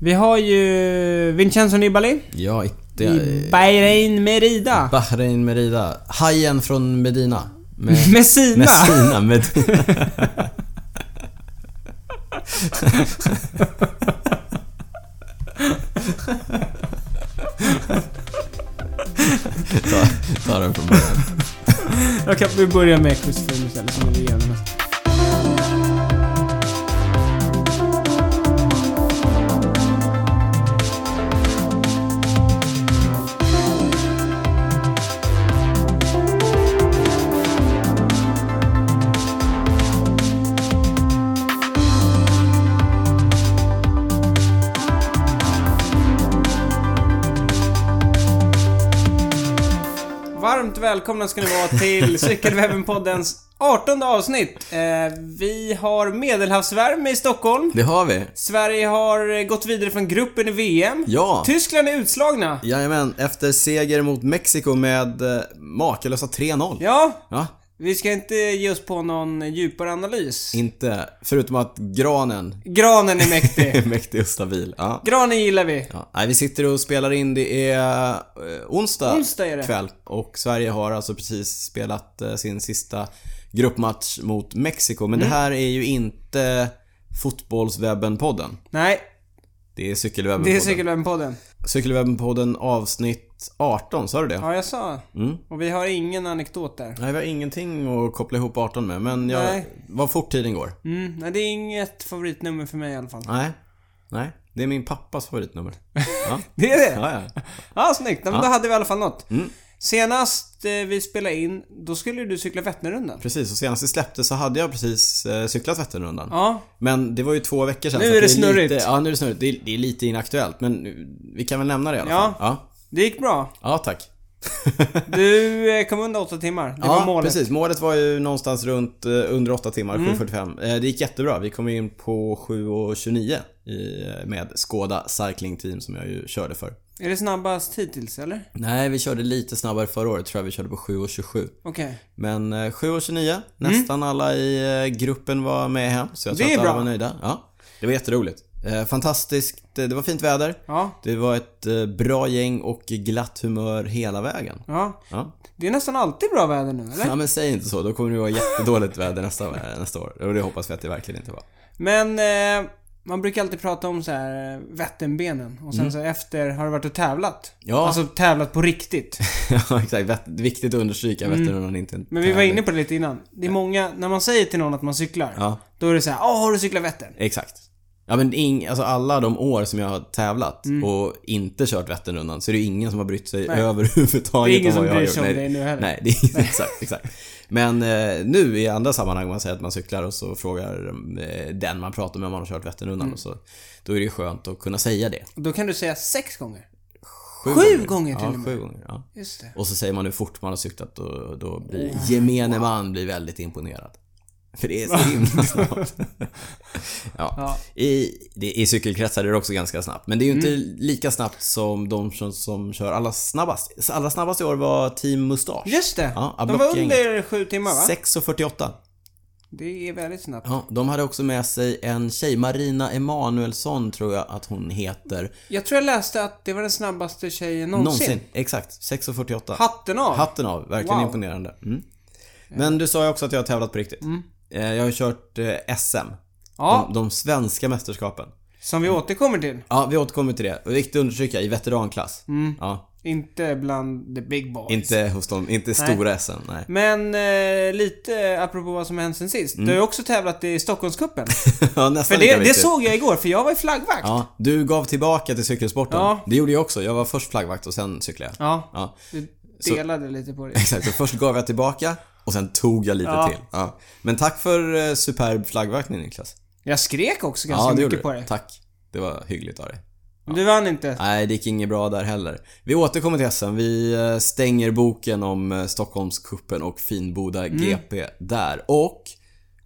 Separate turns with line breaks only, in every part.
Vi har ju Vincenzo Nibali
Ja, inte...
i Bahrain Merida.
Bahrain Merida. Hajen från Medina. Med,
Messina!
Messina. Med, ta, ta den från början.
Då kan vi börja med quizfilm istället som vi gör med. Varmt välkomna ska ni vara till Cykelwebben-poddens 18 avsnitt. Eh, vi har medelhavsvärme i Stockholm.
Det har vi.
Sverige har eh, gått vidare från gruppen i VM.
Ja.
Tyskland är utslagna.
Jajamän, efter seger mot Mexiko med eh, makalösa 3-0.
Ja,
Ja,
vi ska inte ge oss på någon djupare analys.
inte... Förutom att granen
Granen är mäktig.
är mäktig och stabil. Ja.
Granen gillar vi.
Ja, nej, vi sitter och spelar in, det är eh, onsdag,
Onsdag är det.
kväll och Sverige har alltså precis spelat eh, sin sista gruppmatch mot Mexiko. Men
Mm.
det här är ju inte Fotbollswebben-podden.
Nej,
Det är
det är
Cykelwebben-podden.
Cykelwebben-podden.
Cykelwebben-podden avsnitt 18, sa du det?
Ja, jag sa.
Mm.
Och vi har ingen anekdot där.
Nej, vi har ingenting att koppla ihop 18 med, men jag,
Nej.
vad fort tiden går.
Mm, nej, det är inget favoritnummer för mig i alla fall.
Nej, nej. Det är min pappas favoritnummer. Ja,
Det är det?
ja, ja.
Ja, snyggt. Ja, men då hade vi i alla fall något.
Mm.
Senast eh, vi spelade in, då skulle du cykla Vätternrundan.
Precis, och senast det släpptes så hade jag precis eh, cyklat Vätternrundan.
Ja,
Men det var ju två veckor sedan.
Nu
så
är
att
det
Lite,
snurrigt.
ja, nu är det snurrigt. Det är, det är lite inaktuellt, men vi kan väl nämna det i alla
Ja.
fall. Ja.
det gick bra.
Ja, tack.
Du eh, kom under åtta timmar. Det
ja,
var målet. Mm.
precis. Målet var ju någonstans runt eh, under 8 timmar, 7.45. Eh, Det gick jättebra. Vi kom in på 7.29 i- eh, med Skoda Cycling Team som jag ju körde för.
Är det snabbast hittills, eller?
Nej, vi körde lite snabbare förra året. Tror jag vi körde på 7.27.
Okej.
Men eh,
Mm.
7.29, nästan alla i eh, gruppen var med hem. Så jag
Det
tror
är
att alla
bra.
var nöjda. Ja, det var jätteroligt. Eh, Fantastiskt. eh, Det var fint väder.
Ja.
Det var ett eh, bra gäng och glatt humör hela vägen.
Ja.
Ja.
Det är nästan alltid bra väder nu, eller?
ja, men säg inte så. Då kommer det vara jättedåligt väder nästa, eh, nästa år. Och det hoppas vi att det verkligen inte var.
Men eh, man brukar alltid prata om så här eh, Vätternbenen och sen så efter har du varit och tävlat.
Mm. Ja.
Alltså tävlat på riktigt.
ja, exakt. Vett- Viktigt att understryka Vätternrundan är inte en
Mm. Men vi var
tävling.
inne på det lite innan. Det är många, när man säger till någon att man cyklar,
Ja,
då är det så här, "Åh, har du cyklat Vättern?"
exakt. Ja, men ing, alltså alla de år som jag har tävlat och inte kört Vätternrundan så är det ju ingen som har brytt sig
Mm. Nej.
överhuvudtaget
Det är ingen
om
som
vad jag har
bryr
gjort.
sig om
Nej,
dig nu heller.
Nej, det är inte exakt, exakt. Men eh, nu i andra sammanhang man säger att man cyklar och så frågar eh, den man pratar med om man har kört Vätternrundan
Mm.
och så Då är det ju skönt att kunna säga det.
Då kan du säga sex gånger.
Sju,
gånger till och
ja,
med.
sju gånger. Ja.
Just det.
Och så säger man hur fort man har cyklat och då blir gemene man blir väldigt imponerad. För det är så himla snabbt. ja.
Ja.
I, det, I cykelkretsar är det också ganska snabbt. Men det är ju inte
Mm.
lika snabbt som de som, som kör allra snabbast. Allra snabbast i år var Team Mustasch.
Just det.
Ja,
De var
blockgänget.
under sju timmar va?
6.48.
Det är väldigt snabbt.
Ja, de hade också med sig en tjej, Marina Emanuelsson tror jag att hon heter.
Jag tror jag läste att det var den snabbaste tjejen någonsin.
Någonsin. Exakt, 6.48.
Hatten av.
Hatten av, verkligen
Wow.
imponerande. Mm. Men du sa ju också att jag har tävlat på riktigt. Eh, Jag har ju kört eh, SM.
Mm. ja,
De, de svenska mästerskapen.
som vi återkommer till.
Ja, vi återkommer till det. Och det är viktigt att understryka, i veteranklass.
Mm.
Ja,
Inte bland the big boys.
inte hos de, inte stora SM, nej.
Men eh, lite apropå vad som har hänt sen sist. Du har ju också tävlat i Stockholmscupen.
Mm. ja, nästan
För det,
lika
det
viktigt.
såg jag igår, för jag var i flaggvakt. Ja.
Ja, du gav tillbaka till cykelsporten.
Ja.
Det gjorde jag också. Jag var först flaggvakt och sen cyklade jag. Ja,
Du
Så-
delade lite på det.
exakt. Så först gav jag tillbaka och sen tog jag lite
Ja.
till. Ja. Men tack för eh, superb flaggvaktning Niklas.
Jag skrek också
Ja,
ganska
det gjorde
mycket
du.
på det.
Tack. Det var hyggligt av dig.
Men Du vann inte.
Nej, det gick inget bra där heller. Vi återkommer till SM. Vi eh, stänger boken om eh, Stockholmskuppen och Finboda GP där. Och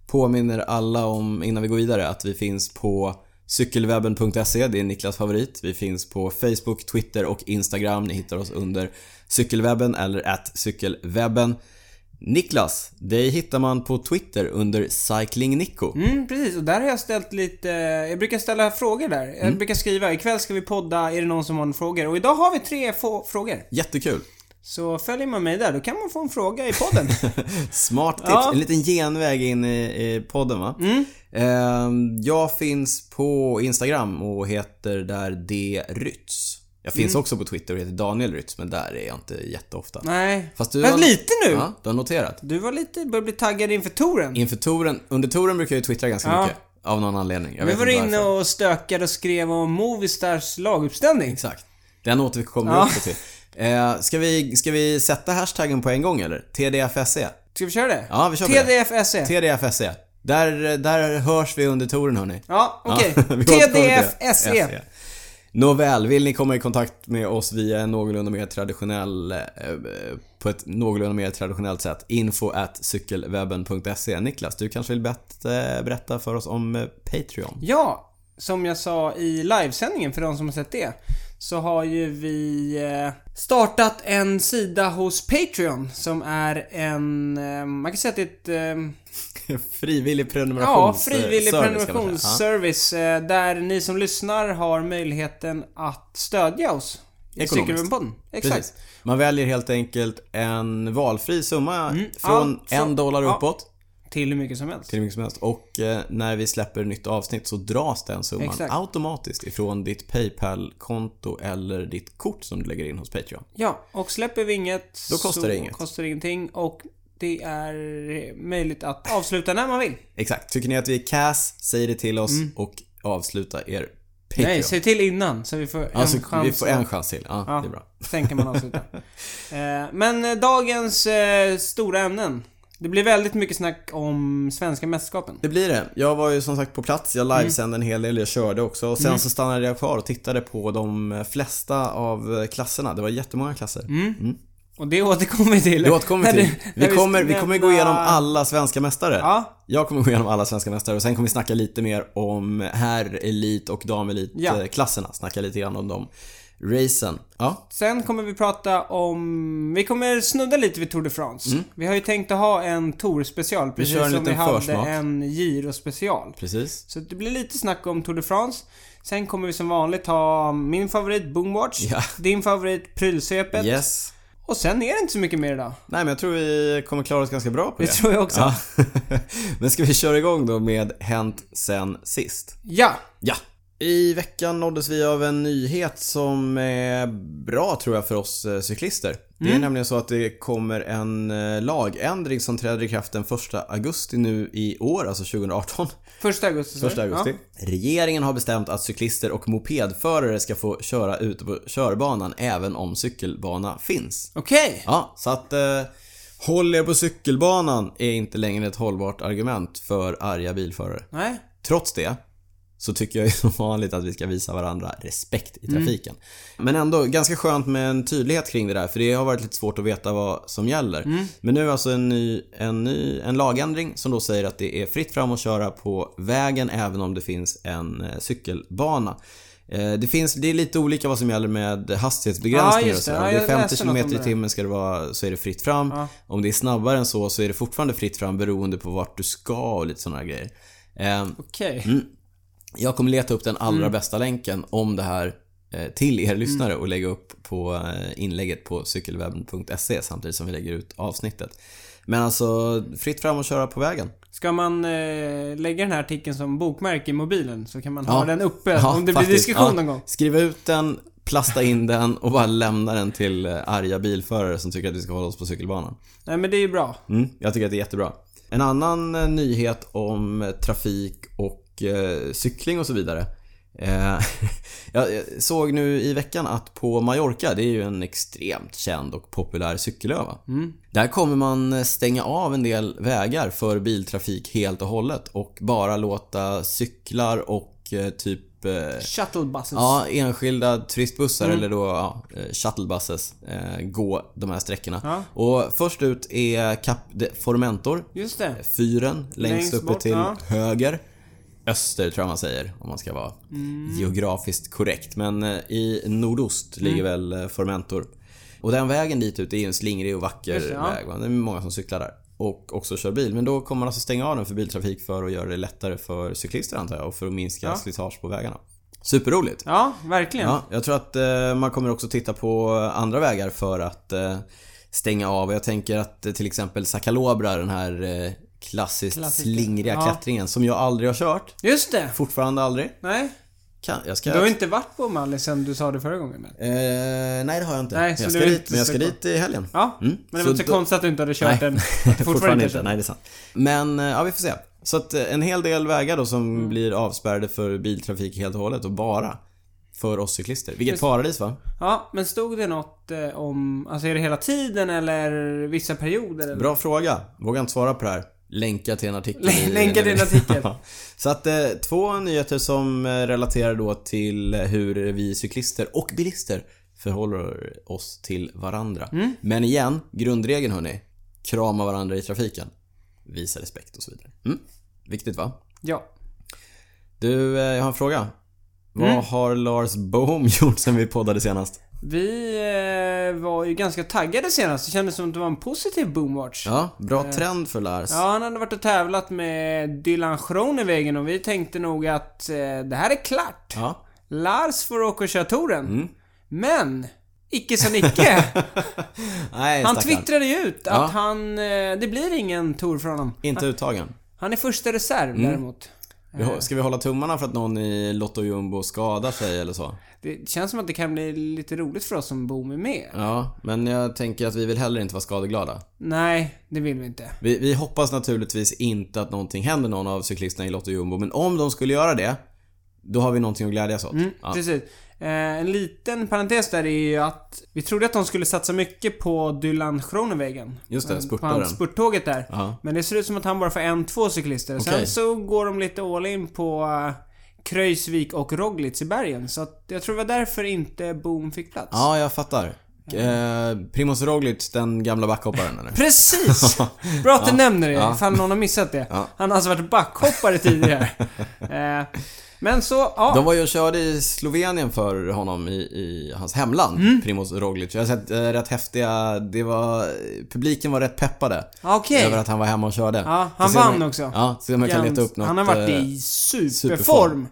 påminner alla om, innan vi går vidare, att vi finns på cykelwebben.se. E. Det är Niklas favorit. Vi finns på Facebook, Twitter och Instagram. Ni hittar oss under cykelwebben eller at cykelwebben. Niklas, dig hittar man på Twitter under Cycling Nico.
Mm, precis. Och där har jag ställt lite... Jag brukar ställa frågor där. Jag
Mm.
brukar skriva ikväll ska vi podda, är det någon som har en frågor? Och idag har vi tre få frågor.
Jättekul!
Så följer man mig där, då kan man få en fråga i podden.
Smart tips.
Ja. Mm.
En liten genväg in i, i podden va? Ehm, jag finns på Instagram och heter där D. Rytz. Jag finns också på Twitter och heter Daniel Rytz, men där är jag inte jätteofta.
Mm. Nej.
Fast du
Men lite nu!
Ja, du har noterat.
Du var lite, började bli taggad inför touren.
Inför touren, under touren brukar jag ju twittra ganska
Ja.
mycket. Av någon anledning. Jag
Vi
vet
var
inte
inne
varför.
och stökade och skrev om Movistars laguppställning.
Exakt. Den återkommer vi
Ja.
också till. Eh, ska, vi, ska vi sätta hashtaggen på en gång eller? TDFSE.
Ska vi köra det?
Ja, vi kör på det.
TDFSE.
TDFSE. E. Där, där hörs vi under touren hörni.
Ja, okej.
vi återkommer till det.
TDFSE.
E. Nåväl, vill ni komma i kontakt med oss via en någorlunda mer traditionell, eh, på ett någorlunda mer traditionellt sätt, info at cykelwebben.se. E. Niklas, du kanske vill bet- eh, berätta för oss om eh, Patreon?
Ja, som jag sa i livesändningen för de som har sett det. Så har ju vi eh, startat en sida hos Patreon som är en, eh, man kan säga att det är ett eh,
frivillig
Ja,
prenumerations...
frivillig
service kan man säga.
prenumerationsservice eh, där ni som lyssnar har möjligheten att stödja oss. I
Ekonomiskt.
Cykelwebben-podden.
Ja,
Exakt.
precis. Man väljer helt enkelt en valfri summa från
allt från-
en dollar
Mm. ja.
uppåt
Till hur mycket som helst.
till hur mycket som helst. Och eh, när vi släpper ett nytt avsnitt så dras den summan
Exakt.
automatiskt ifrån ditt Paypal-konto eller ditt kort som du lägger in hos Patreon.
Ja, och släpper vi inget
Då kostar
så
det inget.
kostar det ingenting och det är eh, möjligt att avsluta när man vill.
Exakt. Tycker ni att vi är kass, säg det till oss och avsluta er Patreon.
Mm. Nej, säg till innan så vi får en
alltså,
chans.
vi får
att-
en chans till. Ja, det är bra.
Sen kan man avsluta. eh, men eh, dagens eh, stora ämnen. Det blir väldigt mycket snack om svenska mästerskapen.
Det blir det. Jag var ju som sagt på plats,
Mm.
jag livesände en hel del, jag körde också. Och sen så stannade jag kvar och tittade på de flesta av eh, klasserna. Det var jättemånga klasser.
Och det återkommer vi till.
Det återkommer
Mm. När
vi till.
du- när
Vi kommer, vi
ska
kommer gå
nämna-
igenom alla svenska mästare.
Ja.
Jag kommer gå igenom alla svenska mästare och sen kommer vi snacka lite mer om herr-, elit och
Ja.
damelit-klasserna. Snacka lite grann om de racen. Ja,
Sen kommer vi prata om... Vi kommer snudda lite vid Tour de France. Vi har ju tänkt att ha en Tour-special precis
Mm. kör en
som vi
liten
hade
försmak.
en Giro-special.
precis.
Så det blir lite snack om Tour de France. Sen kommer vi som vanligt ha min favorit Boomwatch,
Ja.
din favorit Prylsvepet
Yes.
och sen är det inte så mycket mer idag.
Nej men jag tror vi kommer klara oss ganska bra på
Det
det.
tror jag också. Ja.
Ja. men ska vi köra igång då med Hänt sen sist? Ja. I veckan nåddes vi av en nyhet som är bra tror jag för oss eh, cyklister. Det är
Mm.
nämligen så att det kommer en eh, lagändring som träder i kraft den 1 augusti nu i år, alltså 2018.
Första augusti. sa du?
Första augusti. Regeringen har bestämt att cyklister och mopedförare ska få köra ute på körbanan även om cykelbana finns.
Ja. Okej.
Ja, så att eh, håll er på cykelbanan är inte längre ett hållbart argument för arga bilförare.
Nej.
Trots det så tycker jag ju som vanligt att vi ska visa varandra respekt
Mm.
i trafiken. Men ändå ganska skönt med en tydlighet kring det där för det har varit lite svårt att veta vad som gäller.
Mm.
Men nu alltså en ny, en ny en lagändring som då säger att det är fritt fram att köra på vägen även om det finns en eh, cykelbana. Eh, Det, finns, det är lite olika vad som gäller med
Ja,
hastighetsbegränsningar
just
och
det.
sådär.
Ja,
Om det
jag
är 50
läste något om
km i
det.
timmen ska det vara, så är det fritt fram. Om det är snabbare än så så är det fortfarande fritt fram beroende på vart du ska och lite sådana grejer. Eh,
Okej.
jag kommer leta upp den allra
Mm.
bästa länken om det här eh, till er lyssnare och lägga upp på eh, inlägget på cykelwebben.se samtidigt som vi lägger ut avsnittet. Men alltså, fritt fram och köra på vägen.
Ska man eh, lägga den här artikeln som bokmärke i mobilen så kan man ha
Ja.
den uppe
Ja,
om det blir
faktiskt.
diskussion
Ja.
någon gång.
Skriv ut den, plasta in den och bara lämna den till eh, arga bilförare som tycker att vi ska hålla oss på cykelbanan.
Nej men det är ju bra.
Mm, jag tycker att det är jättebra. En annan eh, nyhet om eh, trafik och eh, cykling och så vidare. Eh, jag jag såg nu i veckan att på Mallorca, det är ju en extremt känd och populär cykelö va? Där kommer man eh, stänga av en del vägar för biltrafik helt och hållet och bara låta cyklar och eh, typ eh,
Shuttlebuses.
Ja, enskilda turistbussar
Mm.
eller då ja, eh, shuttlebuses eh, gå de här sträckorna.
Ja.
Och först ut är Cap de Formentor,
Just det.
fyren längst
Längst
uppe
bort,
till
ja.
höger. Öster tror jag man säger om man ska vara
Mm. Mm.
geografiskt korrekt. Men eh, i nordost ligger väl eh, Formentor. Och den vägen dit ut är ju en slingrig och vacker
Just det, ja.
väg. va? Det är många som cyklar där. Och också kör bil. Men då kommer man alltså stänga av den för biltrafik för att göra det lättare för cyklister antar jag. Och för att minska
Ja.
slitage på vägarna. Superroligt.
Ja, verkligen.
Ja, jag tror att eh, man kommer också titta på andra vägar för att eh, stänga av. Jag tänker att eh, till exempel Sakalobra, den här eh, klassiskt
Klassiker.
slingriga
Ja.
klättringen som jag aldrig har kört.
Just det!
Fortfarande aldrig.
Nej.
Kan, jag ska...
Du har inte varit på Mallis sen du sa det förra gången men.
Eh, nej, det har jag inte.
Nej,
Men
så
jag
du
ska
är
dit,
inte
men jag ska
säker.
dit i helgen.
Ja,
Mm.
men det
Så
var inte så
då-
konstigt att du inte hade kört
Nej.
den. kört
Fortfarande inte.
den.
Nej, det är sant. Men eh, ja, vi får se. Så att eh, en hel del vägar då som
Mm.
blir avspärrade för biltrafik helt och hållet och bara för oss cyklister. Vilket
Just-
paradis va?
Ja, men stod det något eh, om... Alltså är det hela tiden eller vissa perioder? Eller?
Bra fråga. Vågar inte svara på det här. Länka till en artikel. i-
Länka till en artikel.
Så att eh, två nyheter som eh, relaterar då till eh, hur vi cyklister och bilister förhåller oss till varandra.
Mm.
Men igen, grundregeln hörni. Krama varandra i trafiken. Visa respekt och så vidare. Mm. Viktigt va?
Ja.
Du, eh, jag har en fråga. Vad
Mm.
har Lars Bohm gjort sen vi poddade senast?
Vi eh, var ju ganska taggade senast. Det kändes som att det var en positiv boomwatch.
Ja, bra trend för Lars.
Eh. Ja, han hade varit och tävlat med Dylan Schronewegen och vi tänkte nog att eh, det här är klart.
Ja.
Lars får åka och köra touren.
Mm.
Men, icke så Nicke.
Nej,
Han
stackarn.
twittrade ju ut att
Ja.
han... eh, Det blir ingen tour för honom.
Inte uttagen.
Han är första reserv
Mm.
däremot.
Vi hå- Ska vi hålla tummarna för att någon i Lotto Jumbo skadar sig eller så?
Det känns som att det kan bli lite roligt för oss som Boom är med.
Ja, men jag tänker att vi vill heller inte vara skadeglada.
Nej, det vill vi inte.
Vi, vi hoppas naturligtvis inte att någonting händer någon av cyklisterna i Lotto Jumbo, men om de skulle göra det, då har vi någonting att glädjas åt. Ja.
Precis. Eh, en liten parentes där är ju att vi trodde att de skulle satsa mycket på Dylan Schronewegen.
Just det,
Eh,
spurtaren.
På hans spurttåget där.
Ja.
Men det ser ut som att han bara får en, två cyklister. Sen
Okej.
så går de lite all in på eh, Kröjsvik och Roglic i bergen. Så att jag tror det var därför inte Boom fick plats.
ja, jag fattar. Eh, Primoz Roglic, den gamla backhopparen eller?
Precis! Bra att du nämner det,
Ja.
ifall någon har missat det.
Ja.
Han har alltså varit backhoppare tidigare. eh, men så, ja.
De var ju och körde i Slovenien för honom i, i hans hemland, Primoz Roglic. Jag har sett eh, rätt häftiga, det var, publiken var rätt peppade.
Ja, Okej.
Över att han var hemma och körde.
Ja, han
Så ser
vann
man-
också.
Ja, så man kan leta upp något.
han har varit
eh,
i superform.
superform.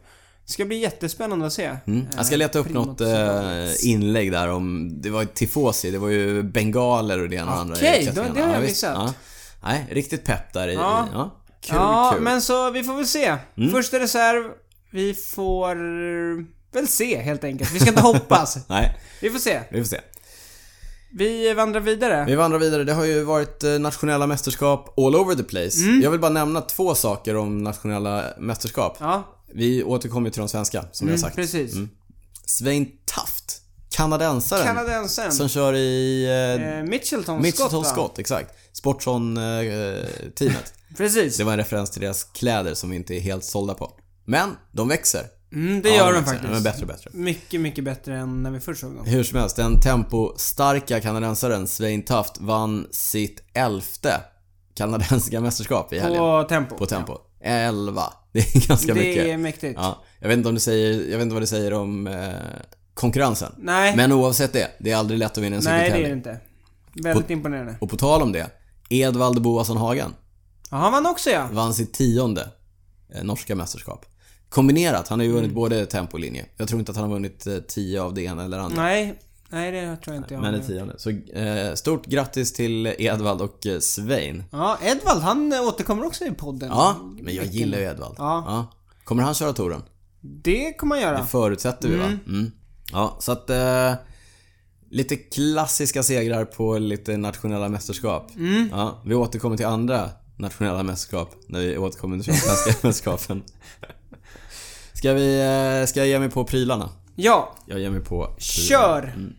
Det ska bli jättespännande att se.
Mm. Jag ska leta upp
Primoz
något eh, inlägg där om, det var ju tifosi, det var ju bengaler och det ena och det andra i
Okej, då-
klättringarna.
det har jag
visst.
missat.
Ja. Nej, riktigt pepp där i,
Ja.
ja. ja. Kul,
ja,
kul. Mm.
men så vi får väl se. Första reserv. Vi får väl se helt enkelt. Vi ska inte hoppas.
Nej,
Vi får se.
vi får se.
Vi vandrar vidare.
Vi vandrar vidare. Det har ju varit eh, nationella mästerskap all over the place.
Mm.
Jag vill bara nämna två saker om nationella mästerskap.
Ja, Mm.
Vi återkommer ju till de svenska, som vi har sagt.
precis.
Svein Taft, kanadensaren,
Kanadensaren.
som kör i eh,
Eh, Mitchelton,
Mitchelton
va?
Scott, exakt. Sportson-teamet.
Precis.
Det var en referens till deras kläder som vi inte är helt sålda på. Men de växer.
Mm, det
Ja,
gör de
växer.
faktiskt.
De är bättre och bättre.
Mycket, mycket bättre än när vi först såg dem.
Hur som helst, den tempostarka kanadensaren Svein Taft vann sitt elfte kanadensiska mästerskap i helgen. På,
På tempo.
tempo. Elva. Det är ganska
Det är
mycket.
mäktigt.
Ja, jag, vet inte om det säger, jag vet inte vad det säger om eh, konkurrensen.
Nej,
Men oavsett det, det är aldrig lätt att vinna en
nej det är
cykeltävling.
det inte. Väldigt imponerande.
Och på tal om det, Edvald Boasson Hagen
Ja, han vann också ja.
vann sitt tionde eh, norska mästerskap. Kombinerat, han har ju vunnit
Mm.
både tempo och linje. Jag tror inte att han har vunnit eh, tio av det ena eller det andra.
Nej, nej det tror jag inte jag.
men det
har.
tionde. Så eh, stort grattis till Edvald och eh, Svein.
Ja, Edvald han eh, återkommer också i podden.
Ja, men jag gillar ju Edvald.
Ja.
Kommer han köra touren?
Det kommer han göra.
Det förutsätter vi va? Mm. Ja, så att... Eh, lite klassiska segrar på lite nationella mästerskap. Ja, vi återkommer till andra nationella mästerskap när vi återkommer till de svenska mästerskapen. Ska vi... Eh, ska jag ge mig på prylarna?
Ja,
Jag ger mig på...
kör!
Mm.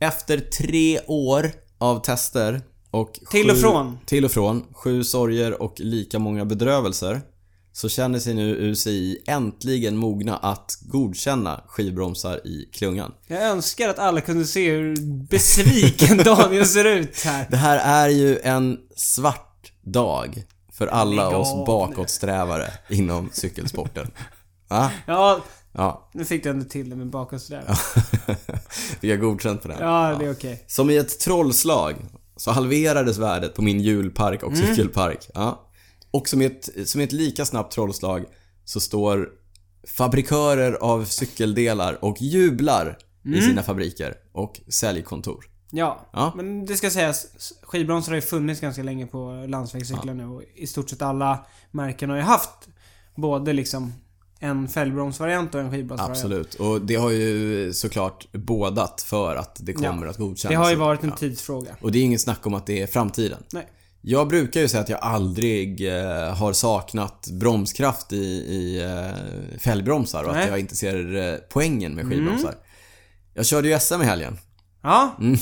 Efter tre år av tester och...
Till och
sju-
från.
Till och från. Sju sorger och lika många bedrövelser. Så känner sig nu UCI äntligen mogna att godkänna skivbromsar i klungan.
Jag önskar att alla kunde se hur besviken Daniel ser ut här.
Det här är ju en svart dag för alla
Lägg av
oss bakåtsträvare inom cykelsporten. Va?
Ja,
Ja.
Nu fick du ändå till det med bakåt sådär.
Fick jag godkänt på den?
Ja, det är okej.
Som i ett trollslag så halverades värdet på min julpark
Mm.
och cykelpark. Ja. Och som i, ett, som i ett lika snabbt trollslag så står fabrikörer av cykeldelar och jublar i sina fabriker och säljkontor.
Mm. Ja.
Ja.
men det ska sägas. Skivbromsar har ju funnits ganska länge på landsvägscyklar nu och i stort sett alla märken har ju haft både liksom en fälgbromsvariant och en skivbromsvariant.
Absolut. Och det har ju såklart bådat för att det kommer att godkännas.
Det har ju varit en tidsfråga.
Och det är inget snack om att det är framtiden.
Nej.
Jag brukar ju säga att jag aldrig eh, har saknat bromskraft i, i eh, fällbromsar och
Nej. Mm.
att jag inte ser eh, poängen med skivbromsar. Jag körde ju SM i helgen.
Ja,
Mm.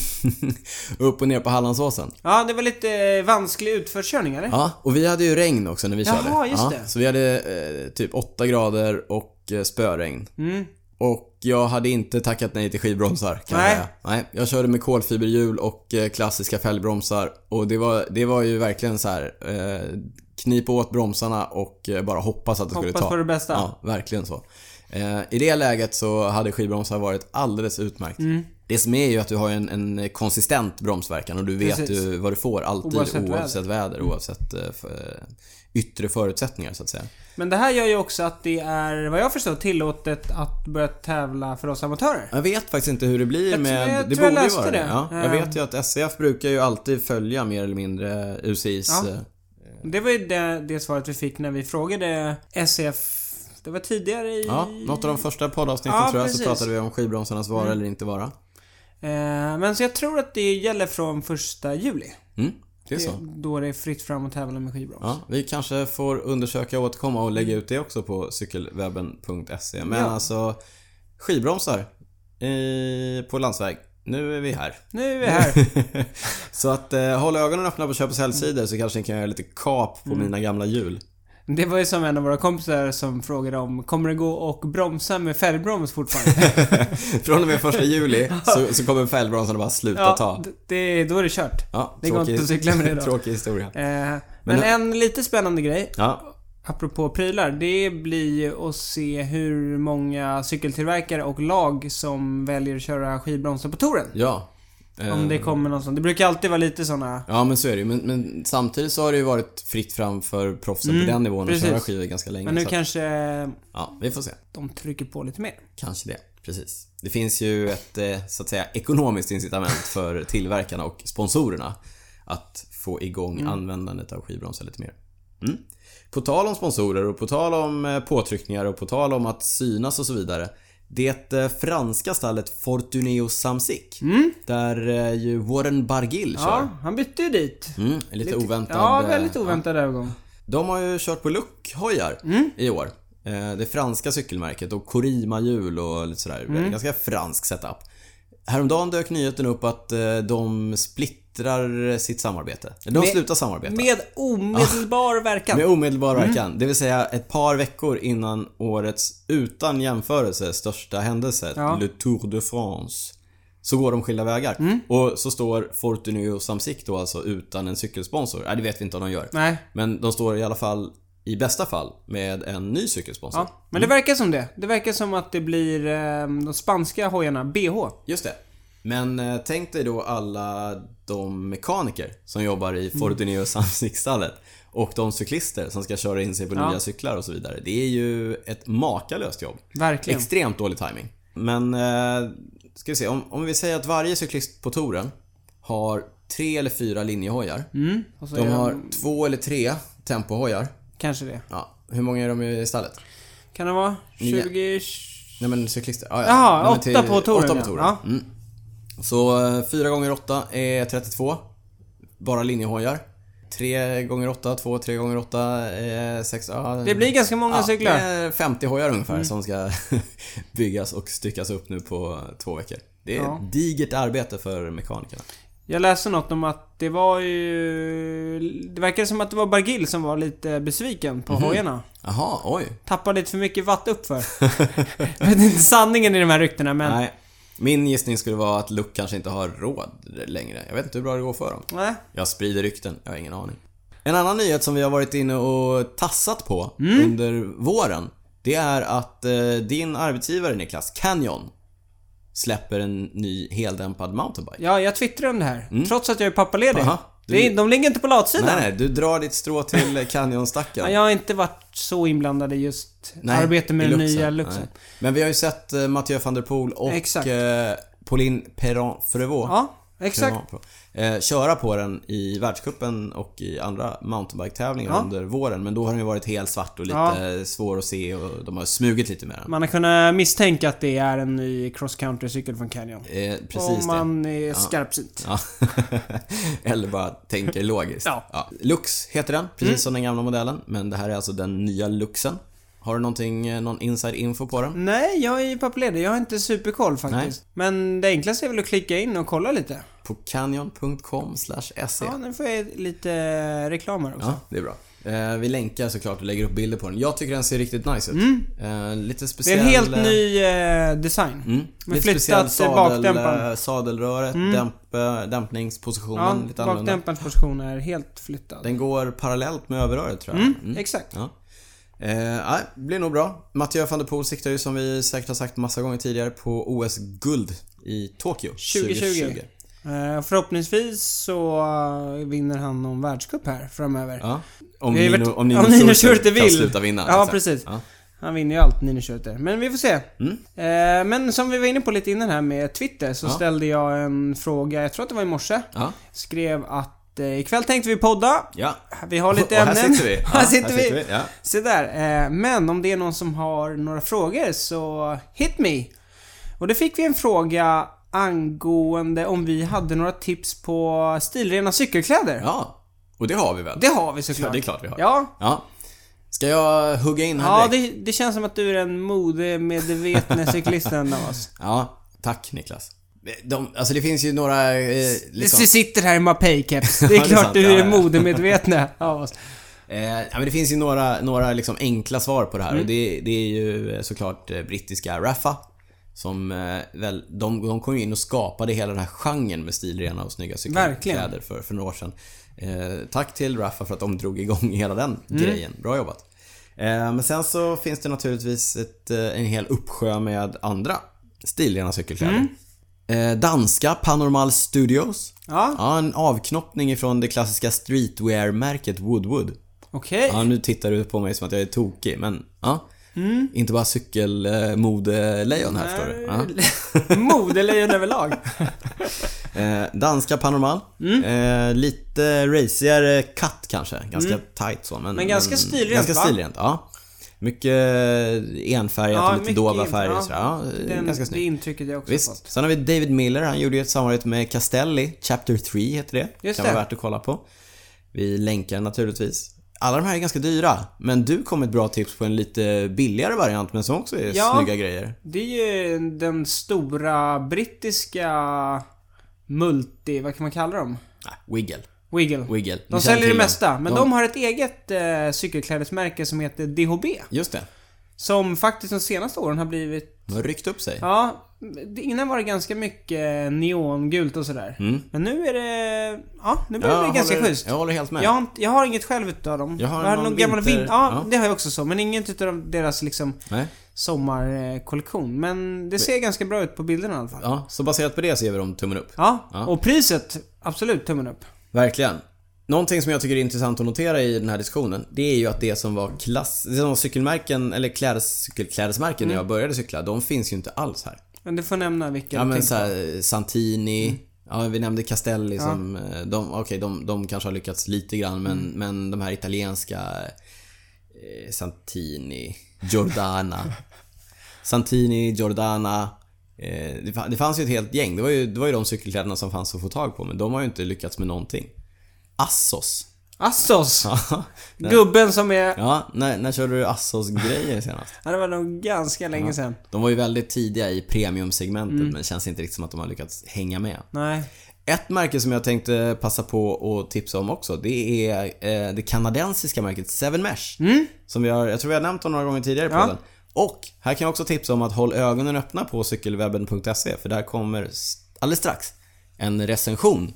Upp och ner på Hallandsåsen.
ja det var lite eh, vansklig utförskörning eller?
Ja, och vi hade ju regn också när vi
Jaha,
körde.
just
ja,
det.
Så vi hade eh, typ 8 grader och eh, spöregn.
Mm.
Och jag hade inte tackat nej till skivbromsar kan
Nej.
jag säga. Nej, jag körde med kolfiberhjul och eh, klassiska fällbromsar. Och det var, det var ju verkligen så här. Eh, knipa åt bromsarna och eh, bara hoppas att det skulle ta.
Hoppas på det bästa.
Ja, verkligen så. Eh, I det läget så hade skivbromsar varit alldeles utmärkt.
Mm.
Det som är ju att du har en, en konsistent bromsverkan och du vet
Precis.
ju vad du får alltid
Oavsett
oavsett,
väder.
väder, oavsett eh, f- eh, yttre förutsättningar så att säga.
Men det här gör ju också att det är, vad jag förstår, tillåtet att börja tävla för oss amatörer.
Jag vet faktiskt inte hur det blir
Jag tror-
med...
jag
det
tror jag
borde ju
läste
vara
det.
det. Ja, jag
Eh.
vet ju att SCF brukar ju alltid följa mer eller mindre UCIs...
Ja.
eh,
Det var ju det, det svaret vi fick när vi frågade SEF, det var tidigare i...
Ja, något av de första poddavsnitten
Ja,
tror jag
precis. Mm.
så pratade vi om skivbromsarnas vara eller inte vara.
Eh, men så jag tror att det gäller från första juli.
Mm, det är så.
Det, då det är fritt fram att tävla med skivbroms.
Ja, vi kanske får undersöka och återkomma och lägga ut det också på cykelwebben.se. Men
Ja.
alltså, skivbromsar i, på landsväg. Nu är vi här.
Nu är vi här.
så att eh, håll ögonen öppna på köp och säljsidor så kanske ni kan göra lite kap
Mm.
på mina gamla hjul.
Det var ju som en av våra kompisar som frågade om, kommer det gå och bromsa med fälgbroms fortfarande?
Från och med första juli så, så kommer fällbromsarna bara sluta ta.
d- det, då är det kört.
Ja,
det går inte att cykla med det då.
Tråkig historia.
Eh, men en lite spännande grej,
Ja,
apropå prylar, det blir ju att se hur många cykeltillverkare och lag som väljer att köra skivbromsar på touren.
ja. Eh.
Om det kommer någon sån. Det brukar alltid vara lite såna
Ja men så är det ju. Men, men samtidigt så har det ju varit fritt fram för proffsen på den nivån
Mm,
att
precis.
köra skidor ganska länge.
Men nu
så att-
kanske
Ja, vi får se.
de trycker på lite mer.
Kanske det. Precis. Det finns ju ett eh, så att säga ekonomiskt incitament för tillverkarna och sponsorerna att få igång
Mm.
användandet av skivbromsar lite mer. Mm. På tal om sponsorer och på tal om eh, påtryckningar och på tal om att synas och så vidare. Det eh, franska stallet Fortuneo Samsic där eh, ju Warren Bargill kör.
Mm. Ja, han bytte ju dit.
Mm, en lite, oväntad.
Ja,
eh,
väldigt oväntad övergång.
de har ju kört på luckhojar
Mm.
i år. Eh, Det franska cykelmärket och Corima-hjul och lite sådär.
Mm.
Ganska fransk setup. Häromdagen dök nyheten upp att eh, de splittrar sitt samarbete. De slutar samarbeta.
Med Mm. omedelbar verkan.
Ah. Med omedelbar verkan. Det vill säga ett par veckor innan årets utan jämförelse största händelse,
Ja.
Le Tour de France. Så går de skilda vägar.
Mm.
Och så står Fortuny och Samsic då alltså utan en cykelsponsor. Nej, det vet vi inte om de gör.
Nej.
Men de står i alla fall, i bästa fall, med en ny cykelsponsor.
Ja, men det verkar som det. Det verkar som att det blir eh, de spanska hojarna, BH.
Just det. Men eh, tänk dig då alla de mekaniker som jobbar i
Mm.
Fortuneo Samsic-stallet. Och de cyklister som ska köra in sig på nya cyklar och så vidare. Det är ju ett makalöst jobb.
Verkligen.
Extremt dålig timing. Men, eh, ska vi se. Om, om vi säger att varje cyklist på touren har tre eller fyra linjehojar.
Mm. Och så är
De
de
har två eller tre tempohojar.
kanske det.
Ja, hur många är de i stallet?
Kan det vara? 20...
Nej men cyklister. Ah, ja.
Jaha,
Nej, men
åtta på touren,
Åtta
ja.
på touren.
Ja.
Mm. Så eh, fyra gånger åtta är 32. Bara linjehojar. Tre gånger åtta, två, tre gånger åtta är sex. Ja,
Det blir ganska många
ja,
cyklar. Mm.
Det är 50 hojar ungefär som ska byggas och styckas upp nu på två veckor. Det är
Ja.
ett digert arbete för mekanikerna.
Jag läste något om att det var ju... Det verkade som att det var Bargill som var lite besviken på hojarna.
Jaha, oj.
Tappade lite för mycket vatt uppför. jag vet inte sanningen i de här ryktena men... Nej.
Nej. Min gissning skulle vara att Luke kanske inte har råd längre. Jag vet inte hur bra det går för dem. Jag sprider rykten, jag har
Mm.
ingen aning. En annan nyhet som vi har varit inne och tassat på under våren. Det är att eh, din arbetsgivare Niklas, Canyon, släpper en ny heldämpad mountainbike.
Ja, jag twittrar om det här. Trots att jag är pappaledig.
Aha, du-
Det är- De ligger inte på latsidan.
Nej, nej, du drar ditt strå till eh, Canyon-stacken.
Ja, Jag har inte varit så inblandad i just arbete med
i
den
Luxen.
nya Luxen.
Nej. Men vi har ju sett eh, Mathieu van der Poel och
Exakt.
eh, Pauline Perron Frevaux
Ja, exakt.
Eh, köra på den i världscupen och i andra mountainbike-tävlingar
Ja.
under våren. Men då har den ju varit helt svart och lite svår att se och de har smugit lite med den.
Man har kunnat misstänka att det är en ny cross country cykel från Canyon.
Eh, precis
Om
det.
man är skarpsint.
Ja. Eller bara tänker logiskt.
Ja. Mm.
Lux heter den, precis som den gamla modellen. Men det här är alltså den nya Luxen. Har du någonting, eh, någon inside info på den?
Nej, jag är ju pappaledig. Jag har inte superkoll faktiskt. Men det enklaste är väl att klicka in och kolla lite.
På canyon.com se.
Ja, nu får jag lite reklamer också.
Ja, det är bra. Eh, vi länkar såklart och lägger upp bilder på den. Jag tycker den ser riktigt nice ut. Eh, lite
Mm. Det är
speciell...
en helt
eh,
ny eh, design.
Mm.
Med
lite speciell
flyttat
sadel,
bakdämparen. Mm.
eh, sadelröret, dämp, eh, dämpningspositionen
Ja,
lite annorlunda.
bakdämparens position är helt flyttad.
Den går parallellt med överröret tror jag. Mm.
Exakt.
Ja. Eh, nej, blir nog bra. Mathieu van der Poel siktar ju som vi säkert har sagt massa gånger tidigare på OS-guld i Tokyo
2020. Eh, Förhoppningsvis så eh, vinner han någon världscup här framöver.
Ja. Om,
Det är väl-
Nino, om Nino,
om Nino
Schurter
Schurter
kan
vill.
sluta vinna.
Ja,
exakt.
precis.
Ja. Mm.
Han vinner ju allt Nino Schurter. Men vi får se. Eh, men som vi var inne på lite innan här med Twitter så ställde jag en fråga, jag tror att det var i morse.
Ja.
Skrev att eh, ikväll tänkte vi podda.
Ja.
Vi har lite
Och här
ämnen.
sitter vi. Ja,
här sitter
här
vi.
sitter vi, ja.
Se där. Eh, Men om det är någon som har några frågor så hit me. Och då fick vi en fråga angående om vi hade några tips på stilrena cykelkläder.
ja. Och det har vi väl?
Det har vi såklart.
Ja, det är klart vi har.
Ja.
Ja. Ska jag hugga in här
Ja,
direkt?
det, det känns som att du är den modemedvetne cyklisten av oss.
Ja, tack Niklas. De, alltså det finns ju några... Eh, liksom,
Du sitter här i Mapei-keps. Det är
Ja, det är
klart
sant.
du
Ja,
är
ja.
den modemedvetne av oss.
eh, ja, men det finns ju några, några liksom enkla svar på det här och det, det är ju eh, såklart eh, brittiska Raffa. Som eh, väl, de, de kom ju in och skapade hela den här genren med stilrena och snygga cykelkläder
Verkligen.
för, för några år sedan. Eh, tack till Raffa för att de drog igång hela den grejen. Bra jobbat. Eh, men sen så finns det naturligtvis ett, eh, en hel uppsjö med andra stilrena cykelkläder. Eh, danska Panormal Studios.
Ja.
en avknoppning ifrån det klassiska streetwear-märket Woodwood.
Okej.
Ja, nu tittar du på mig som att jag är tokig, men ja.
Mm.
Inte bara cykelmodelejon här förstår du. Ja.
Modelejon överlag.
Eh, danska Panormal.
Mm.
Eh, lite racigare cut kanske. Ganska tight så. Men,
Mm. Men ganska stilrent,
Ganska
va?
stilrent, ja. Mycket eh, enfärgat
Ja,
och lite
mycket
dova
enfärg,
färger
ja.
och sådär. Ja, eh,
Den,
ganska
det
snyggt.
intrycket jag också fått.
Visst. Sen har vi David Miller. Han gjorde ju ett samarbete med Castelli. Chapter 3 heter det.
Just
kan
det.
vara värt att kolla på. Vi länkar naturligtvis. Alla de här är ganska dyra. Men du kom med ett bra tips på en lite billigare variant men som också är
Ja.
snygga grejer.
Det är ju den stora brittiska multi... Vad kan man kalla dem?
Ah, Wiggle.
Wiggle.
Wiggle. Ni
De
känner
säljer det
till dem.
mesta, men de... har ett eget eh, cykelklädesmärke som heter DHB.
Just det.
Som faktiskt de senaste åren har blivit
De har ryckt upp sig.
Ja, det- innan var det ganska mycket neongult och sådär. Men nu är det... Ja, nu blir det ganska
Mm. håller,
schysst.
Jag håller helt med.
Jag har, inte- jag har inget själv utav dem.
Jag har någon
någon gammal
vinter-
vin... ja,
ja.
det har jag också så. Men inget utav deras liksom
Nej.
sommarkollektion. Men det ser ganska bra ut på bilderna i alla fall. Ja,
Ja, så baserat på det så ger vi dem tummen upp.
och priset. Absolut tummen upp.
Verkligen. Någonting som jag tycker är intressant att notera i den här diskussionen, det är ju att det som var klass... Det som var cykelmärken, eller klädes, cykelklädesmärken när jag började cykla, de finns ju inte alls här.
Men du får nämna vilka
Ja
du
men
tänker.
så här, Santini, ja vi nämnde Castelli som, eh, de, okej de, de kanske har lyckats lite grann men, men de här italienska eh, Santini, Giordana. Santini, Giordana. Eh, det, fa- det fanns ju ett helt gäng. Det var ju, det var ju de cykelkläderna som fanns att få tag på men de har ju inte lyckats med någonting. Assos.
Assos! Gubben som är...
Ja, när, när körde du Assos-grejer senast?
Ja, det var nog ganska länge sedan.
De var ju väldigt tidiga i premiumsegmentet men det känns inte riktigt som att de har lyckats hänga med.
Nej.
Ett märke som jag tänkte passa på att tipsa om också, det är eh, det kanadensiska märket Seven Mesh.
Mm.
Som vi har, jag tror vi har nämnt dem några gånger tidigare på den. Och här kan jag också tipsa om att håll ögonen öppna på cykelwebben.se för där kommer s- alldeles strax en recension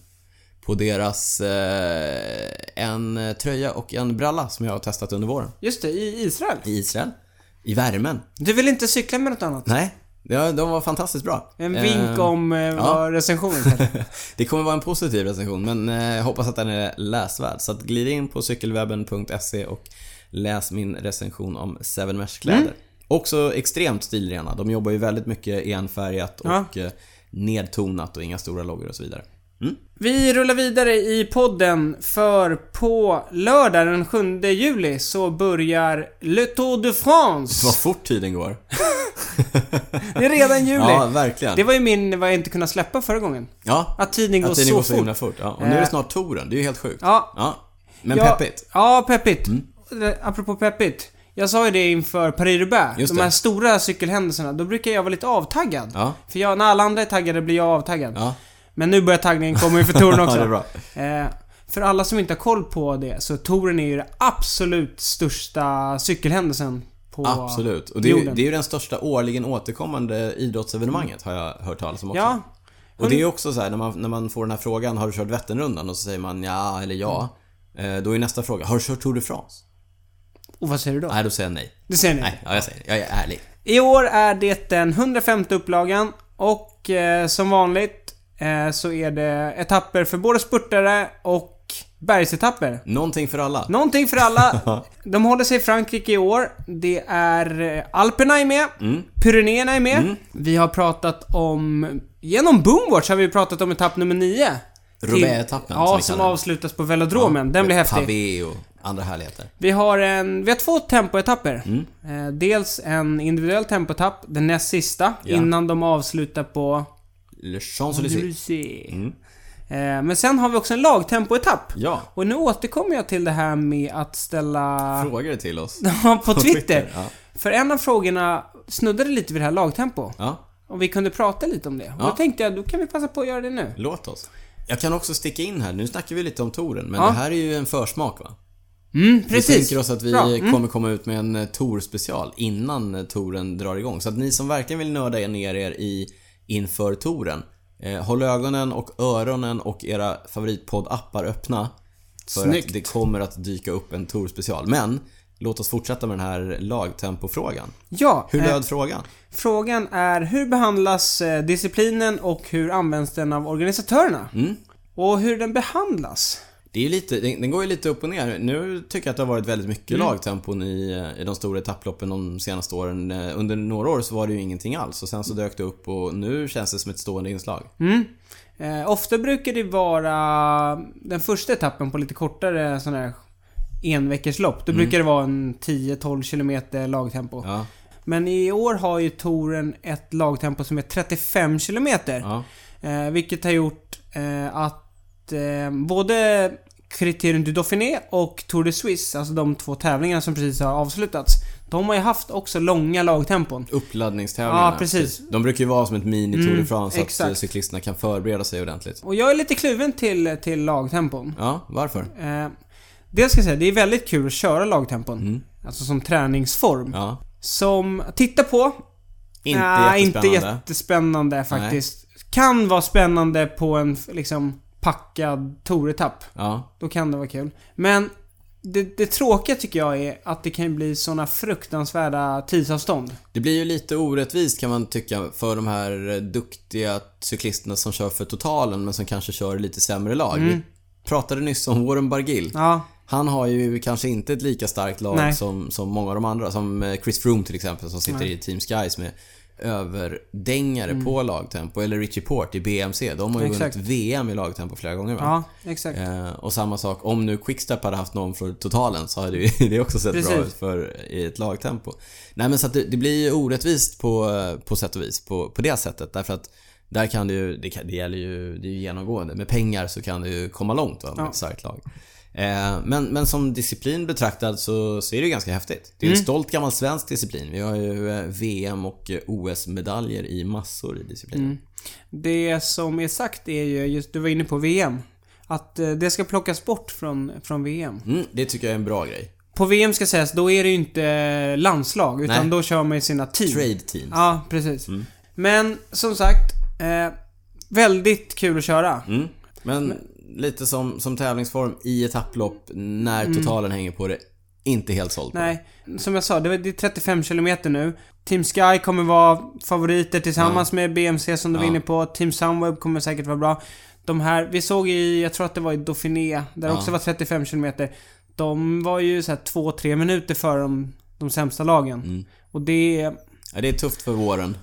på deras eh, en tröja och en bralla som jag har testat under våren
Just det, i Israel.
i Israel. I värmen.
Du vill inte cykla med något annat?
Nej, ja, de var fantastiskt bra.
En
Eh,
vink om eh, vad recensionen heter.
Det kommer vara en positiv recension, men eh, jag hoppas att den är läsvärd. Så att glid in på cykelwebben.se och läs min recension om Seven Mesh-kläder.
Mm.
Också extremt stilrena. De jobbar ju väldigt mycket enfärgat
Ja.
och eh, nedtonat och inga stora loggor och så vidare.
Vi rullar vidare i podden för på lördag den 7 juli så börjar Le Tour de
Vad
France.
fort tiden går.
Det är redan juli.
Ja, verkligen.
Det var ju min, vad jag inte kunde släppa förra gången.
Ja,
Att tiden går
att tiden
så,
går så
fort. Eh.
himla fort. Ja. Och nu är det snart touren, det är ju helt sjukt.
Ja.
Men
Ja,
peppigt. Mm.
Ja, peppigt. Eh, Apropå peppigt. Jag sa ju det inför Paris-Roubaix.
Just
De här
det.
stora cykelhändelserna. Då brukar jag vara lite avtaggad.
Ja.
För jag, när alla andra är taggade blir jag avtaggad.
Ja.
Men nu börjar taggningen komma inför touren också.
Ja, det är bra.
Eh, för alla som inte har koll på det, så touren är ju den absolut största cykelhändelsen på
Absolut. Och det är, ju,
jorden.
det är ju den största årligen återkommande idrottsevenemanget har jag hört talas om också.
Ja.
Och det är ju
Mm.
också så här när man, när man får den här frågan, har du kört Vätternrundan? Och så säger man ja eller ja. Eh, Då är nästa fråga, har du kört Tour de France?
Och vad säger du då?
Nej, då säger jag nej.
Det ser ni.
Nej, ja, jag säger Jag är ärlig.
I år är det den 150 upplagan och eh, som vanligt eh, så är det etapper för både spurtare och bergsetapper.
Någonting för alla.
Någonting för alla. De håller sig i Frankrike i år. Det är eh, Alperna är med.
Mm.
Pyrenéerna är med. Vi har pratat om... Genom Boomwatch har vi pratat om etapp nummer 9.
Roubaix-etappen,
Till-
som vi
Ja,
kallar
som
den.
avslutas på velodromen. den blir häftig.
Pavé och andra härligheter.
Vi har, en, vi har två tempoetapper.
Mm.
Eh, dels en individuell tempoetapp, den näst sista,
Ja.
innan de avslutar på...
Le Champs-Élysées.
Eh, men sen har vi också en lagtempoetapp.
Mm. Ja.
Och nu återkommer jag till det här med att ställa...
Frågar det till oss.
på Twitter.
Twitter, ja.
För en av frågorna snuddade lite vid det här lagtempo.
Ja,
Och vi kunde prata lite om det. Och då
Ja.
tänkte jag, då kan vi passa på att göra det nu.
låt oss. Jag kan också sticka in här, nu snackar vi lite om touren, men
Ja.
det här är ju en försmak va?
Mm,
Vi
precis.
tänker oss att vi
Bra. Mm.
kommer komma ut med en eh, Tor-special innan eh, touren drar igång. Så att ni som verkligen vill nörda er ner er i inför touren, eh, håll ögonen och öronen och era favoritpodd-appar öppna. För
Snyggt.
att det kommer att dyka upp en Tor-special. Men låt oss fortsätta med den här lagtempofrågan.
Ja.
Hur
eh,
löd frågan?
Frågan är hur behandlas eh, disciplinen och hur används den av organisatörerna? Och hur den behandlas?
Det är ju lite, den den går ju lite upp och ner. Nu tycker jag att det har varit väldigt mycket
Mm.
lagtempon i, eh, i de stora etapploppen de senaste åren. Eh, Under några år så var det ju ingenting alls och sen så dök det upp och nu känns det som ett stående inslag.
Mm. Eh, ofta brukar det vara den första etappen på lite kortare sån här enveckorslopp. Då brukar det vara en 10-12 kilometer lagtempo.
Ja,
Men i år har ju touren ett lagtempo som är 35 kilometer.
ja,
Eh, vilket har gjort eh, att eh, både Criterium du Dauphiné och Tour de Suisse, alltså de två tävlingarna som precis har avslutats, de har ju haft också långa lagtempon.
uppladdningstävlingarna.
Ja, precis.
Typ. De brukar ju vara som ett mini Tour de
Mm,
France så att
exakt.
eh, cyklisterna kan förbereda sig ordentligt.
Och jag är lite kluven till, till lagtempon.
Ja, varför?
Eh, dels ska jag säga, det är väldigt kul att köra lagtempon. Alltså som träningsform.
Mm. Ja.
Som, titta på.
Inte
Ah,
jättespännande.
inte jättespännande faktiskt. Kan vara spännande på en liksom packad touretapp.
Ja,
Då kan det vara kul. Men det, det tråkiga tycker jag är att det kan bli såna fruktansvärda tidsavstånd.
Det blir ju lite orättvist kan man tycka för de här eh, duktiga cyklisterna som kör för totalen men som kanske kör i lite sämre lag.
Mm.
Vi pratade nyss om Warren Bargill.
Ja,
Han har ju kanske inte ett lika starkt
Nej.
lag som, som många av de andra. Som eh, Chris Froome till exempel som sitter i Team Sky som är överdängare på lagtempo. Eller Richie Port i BMC. De har ju
Mm. Exakt.
vunnit VM i lagtempo flera gånger va?
ja exakt.
Eh, och samma sak, om nu Quickstep hade haft någon från totalen så hade ju det också sett bra
Precis.
ut för, i ett lagtempo. Nej men så att det, det blir ju orättvist på, på sätt och vis på, på det sättet. Därför att där kan det ju, det, kan, det gäller ju, det är ju genomgående. Med pengar så kan det ju komma långt va, med ett starkt lag. Eh, men, men som disciplin betraktad så, så är det ju ganska häftigt. Det är ju en stolt gammal svensk disciplin. Vi har ju eh, VM och eh, OS-medaljer i massor i disciplinen.
Det som är sagt är ju, just, du var inne på VM. Att eh, det ska plockas bort från, från VM.
Mm, det tycker jag är en bra grej.
På VM ska sägas, då är det ju inte landslag utan
Nej.
då kör man ju sina team.
Trade teams.
Ja, precis. Men som sagt, eh, väldigt kul att köra.
Mm. Men lite som, som tävlingsform i etapplopp när totalen hänger på det. Inte helt såld på det.
Mm. Nej, som jag sa, det var- det är 35 kilometer nu. Team Sky kommer vara favoriter tillsammans med BMC som du var
Ja.
inne på. Team Sunweb kommer säkert vara bra. De här, vi såg i, jag tror att det var i Dauphiné, där det
Ja.
också var 35 kilometer. De var ju såhär 2-3 minuter före de, de sämsta lagen.
Mm.
Och det är
Ja, det är tufft för våren.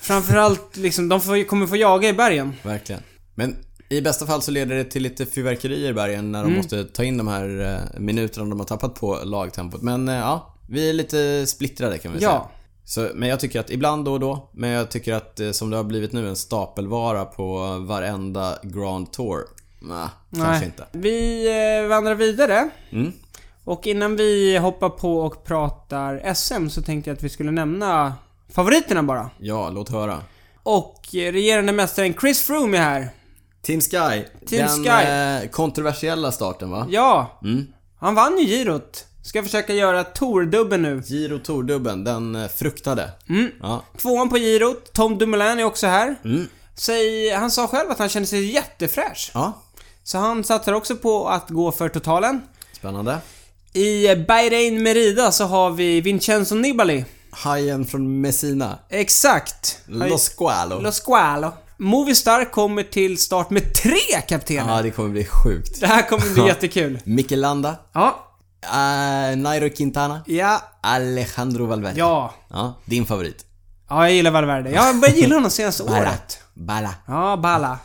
framförallt liksom, de får, ju- kommer få jaga i bergen.
Verkligen. Men i bästa fall så leder det till lite fyrverkerier i bergen när de
Mm.
måste ta in de här eh, minuterna de har tappat på lagtempot. Men eh, ja, vi är lite splittrade kan vi
Ja.
säga. Så, men jag tycker att ibland då och då, men jag tycker att eh, som det har blivit nu en stapelvara på varenda Grand Tour. Nah, kanske inte.
Vi eh, vandrar vidare.
Mm.
Och innan vi hoppar på och pratar SM så tänkte jag att vi skulle nämna favoriterna bara.
Ja, låt höra.
Och regerande mästaren Chris Froome är här.
Team Sky.
Team
Den
Sky.
Eh, kontroversiella starten va?
Ja,
Mm.
han vann ju girot. Ska försöka göra tourdubben nu.
Giro Tour-dubben, den eh, fruktade.
Mm.
Ja.
Tvåan på girot, Tom Dumoulin är också här.
Mm.
Säg, han sa själv att han kände sig jättefräsch.
ja,
Så han satsar också på att gå för totalen.
spännande.
I Bahrain Merida så har vi Vincenzo Nibali.
Hajen från Messina.
Exakt.
Los Gualo.
Lo Squalo. Movistar kommer till start med tre kaptener.
Ja, det kommer bli sjukt.
Det här kommer bli jättekul.
Mikelanda.
Ja.
Uh, Nairo Quintana.
Ja.
Alejandro Valverde.
Ja.
Ja, din favorit.
Ja, jag gillar Valverde. Jag har börjat gilla honom senaste året.
Bala.
Ja, Balla.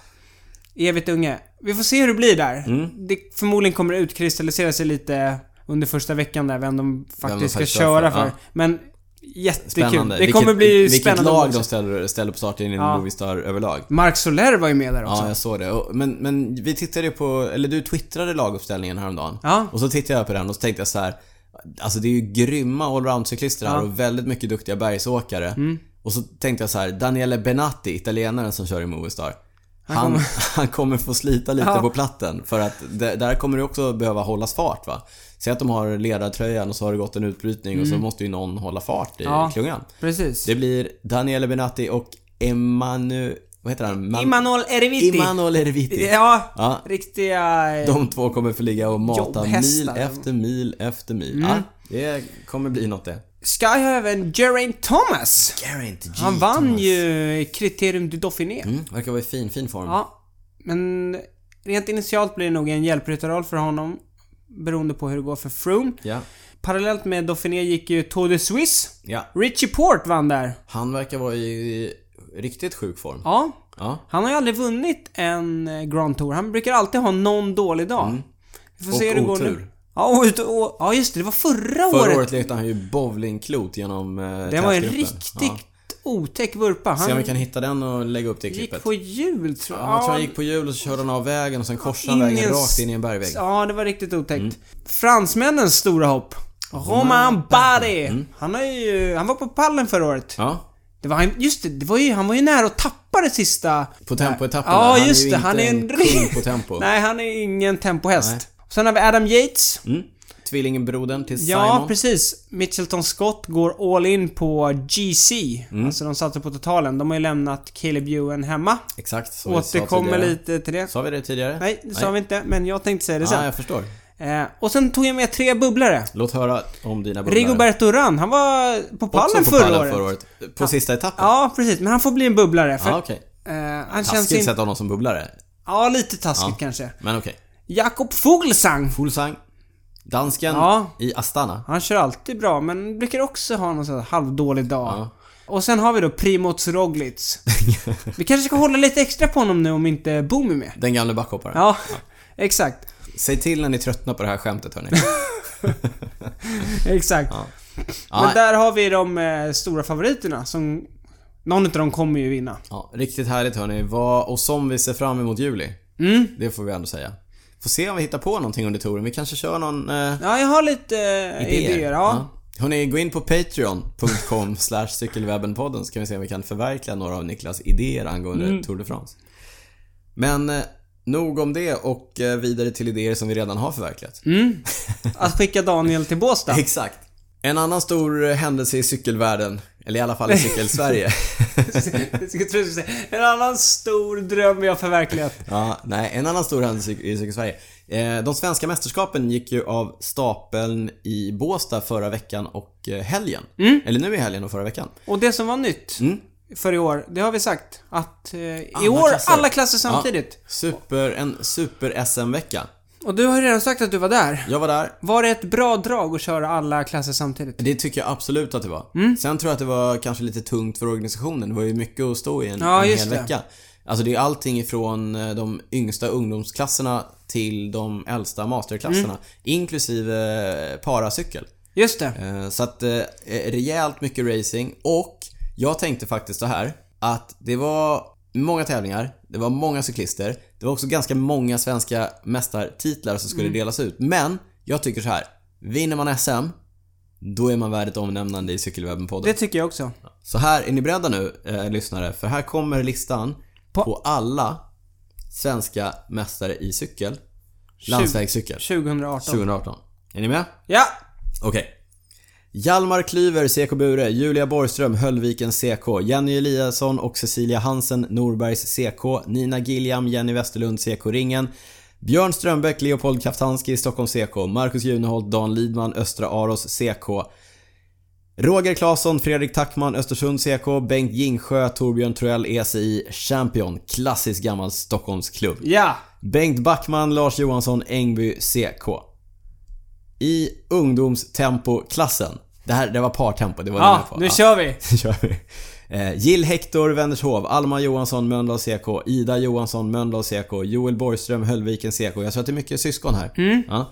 Evigt unge. Vi får se hur det blir där.
Mm.
Det förmodligen kommer det utkristallisera sig lite under första veckan där, vem de faktiskt ska
faktiskt
köra
kör
för.
för, ja.
Men jättekul.
Spännande.
Det kommer bli
vilket
spännande.
lag
också.
de ställer, ställer på starten i
Ja.
Movistar överlag.
Mark Soler var ju med där också.
Ja, jag såg det. Och- Men, men vi tittade ju på, eller du twittrade laguppställningen häromdagen.
Ja.
Och så tittade jag på den och så tänkte jag så här. Alltså det är ju grymma allroundcyklister här och väldigt mycket duktiga bergsåkare. Och så tänkte jag så här, Daniele Benatti, italienaren som kör i Movistar. Han, han, kommer få slita lite på platten för att det, där kommer det också behöva hållas fart va. Säg att de har ledartröjan och så har det gått en utbrytning och så måste ju någon hålla fart i
Ja.
klungan.
Precis.
Det blir Daniele Benatti och Emanu... Vad heter han? Man-
Imanol Ereviti.
Imanol Erviti.
Ja,
Ja.
riktiga... eh,
De två kommer få ligga och mata mil
Jobbhästar.
efter mil efter
Mm.
mil. Ja, det kommer bli något det.
Sky har även Geraint Thomas.
Garant G.
Han vann ju Criterium du Dauphiné.
Mm, verkar vara i fin, fin form.
Ja, men rent initialt blir det nog en hjälpryttarroll för honom. Beroende på hur det går för Froome.
Ja.
Parallellt med Dauphiné gick ju Tour de Suisse.
ja.
Richie Port vann där.
Han verkar vara i riktigt sjuk form.
Ja.
Ja.
Han har ju aldrig vunnit en eh, Grand Tour. Han brukar alltid ha någon dålig dag. Vi får
Mm. Och
se hur det går
otur.
nu. Ja, och, ut- och, ja, just det. Det var förra,
Förra
året.
året lekte han ju bowlingklot genom eh,
Det var en
tätgruppen.
riktigt
Ja.
otäck vurpa.
Se om
Han
vi kan hitta den och lägga upp det
gick
klippet.
på hjul, tror
Ja, jag tror han gick på hjul och så körde han av vägen och sen korsade
In
han
i
vägen
en
rakt
s-
in i en bergvägg. Mm.
Ja, det var riktigt otäckt. Fransmännens stora hopp. Romain Bardet. Han, har ju, han var på pallen förra året.
Mm. Ja.
Det var, han- just det, det var ju, han var ju nära att tappa det sista.
På tempoetappen
Ja,
där.
just
ju
det.
inte
Han är en
kung på tempo.
Nej, han är ingen tempohäst. Sen har vi Adam Yates.
Mm. Tvillingbrodern till
Ja,
Simon.
precis. Mitchelton Scott går all in på GC.
Mm.
Alltså de satsar på totalen. De har ju lämnat Caleb Ewan hemma.
Exakt, som vi sa
Återkommer
tidigare.
lite till det.
Sa vi det tidigare?
Nej, det sa vi inte, men jag tänkte säga det
Ja,
sen.
jag förstår.
Eh, och sen tog jag med tre bubblare.
Låt höra om dina bubblare.
Rigoberto Urán, han var på pallen,
Också på
förra,
pallen
året.
förra året. På sista etappen?
Ja, precis. Men han får bli en bubblare. För
Ja, okej.
eh, han känns
Taskigt
inte...
sett av någon som bubblare.
Ja, lite taskigt kanske.
Men okej.
Jakob Fuglsang.
Fuglsang. Dansken
Ja.
i Astana.
Han kör alltid bra, men brukar också ha någon sån här halvdålig dag.
Ja.
Och sen har vi då Primoz Roglic. vi kanske ska hålla lite extra på honom nu om inte Boom är med.
Den gamle backhopparen.
Ja, exakt.
Säg till när ni tröttnar på det här skämtet hörni.
Exakt.
Ja.
Men där har vi de eh, stora favoriterna som... Någon av dem kommer ju vinna.
ja, riktigt härligt hörni. Vad, och som vi ser fram emot juli.
Mm.
Det får vi ändå säga. Får se om vi hittar på någonting under touren. Vi kanske kör någon... Eh,
Ja, jag har lite eh, idéer. ja.
Hörrni, gå in på patreon.com slash cykelwebbenpodden så kan vi se om vi kan förverkliga några av Niklas idéer angående Tour de France. Men eh, nog om det och eh, vidare till idéer som vi redan har förverkligat.
Att skicka Daniel till Båstad.
Exakt. En annan stor eh, händelse i cykelvärlden, Eller i alla fall i cykelsverige.
Jag skulle tro att du skulle säga, En annan stor dröm jag förverkligat.
Ja, nej, en annan stor händelse i Cykelsverige. Eh, De svenska mästerskapen gick ju av stapeln i Båstad förra veckan och eh, helgen. Eller nu i helgen och förra veckan.
Och det som var nytt
Mm.
för i år, det har vi sagt. Att eh, i
Alla
år,
klasser.
alla klasser samtidigt.
Super, en super-SM-vecka.
Och du har ju redan sagt att du var där.
Jag var där.
Var det ett bra drag att köra alla klasser samtidigt?
Det tycker jag absolut att det var.
Mm.
Sen tror jag att det var kanske lite tungt för organisationen. Det var ju mycket att stå i en,
Ja,
en
just
hel
det.
vecka. Alltså det är allting ifrån eh, de yngsta ungdomsklasserna till de äldsta masterklasserna.
Mm.
Inklusive eh, paracykel.
Just det.
Eh, Så att eh, rejält mycket racing och jag tänkte faktiskt så här att det var många tävlingar, det var många cyklister, det var också ganska många svenska mästartitlar som
Mm.
skulle delas ut. Men jag tycker så här, vinner man SM, då är man värd ett omnämnande i Cykelwebben-podden.
Det tycker jag också.
Så här, är ni beredda nu eh, lyssnare? För här kommer listan på,
På-
alla svenska mästare i cykel, landsvägscykel,
2018.
2018. Är ni med?
Ja!
Okej. Hjalmar Klyver, CK Bure, Julia Borgström, Höllviken CK, Jenny Eliasson och Cecilia Hansen, Norbergs CK, Nina Gilliam, Jenny Westerlund, CK-ringen, Björn Strömbäck, Leopold Kaftanski, Stockholm CK, Marcus Juneholt, Dan Lidman, Östra Aros CK, Roger Claesson, Fredrik Tackman, Östersund CK, Bengt Gingsjö, Torbjörn Truell, ECI, Champion, klassisk gammal Stockholmsklubb.
Ja!
Bengt Backman, Lars Johansson, Engby, CK. I ungdomstempoklassen. Det här det var partempo, det var den här
Ja,
på.
nu kör vi!
Nu kör vi. Eh, Jill Hector, Vänershov, Alma Johansson, Mölndal CK, Ida Johansson, Mölndal CK, Joel Borgström, Höllviken CK. Jag tror att det är mycket syskon här. Ja.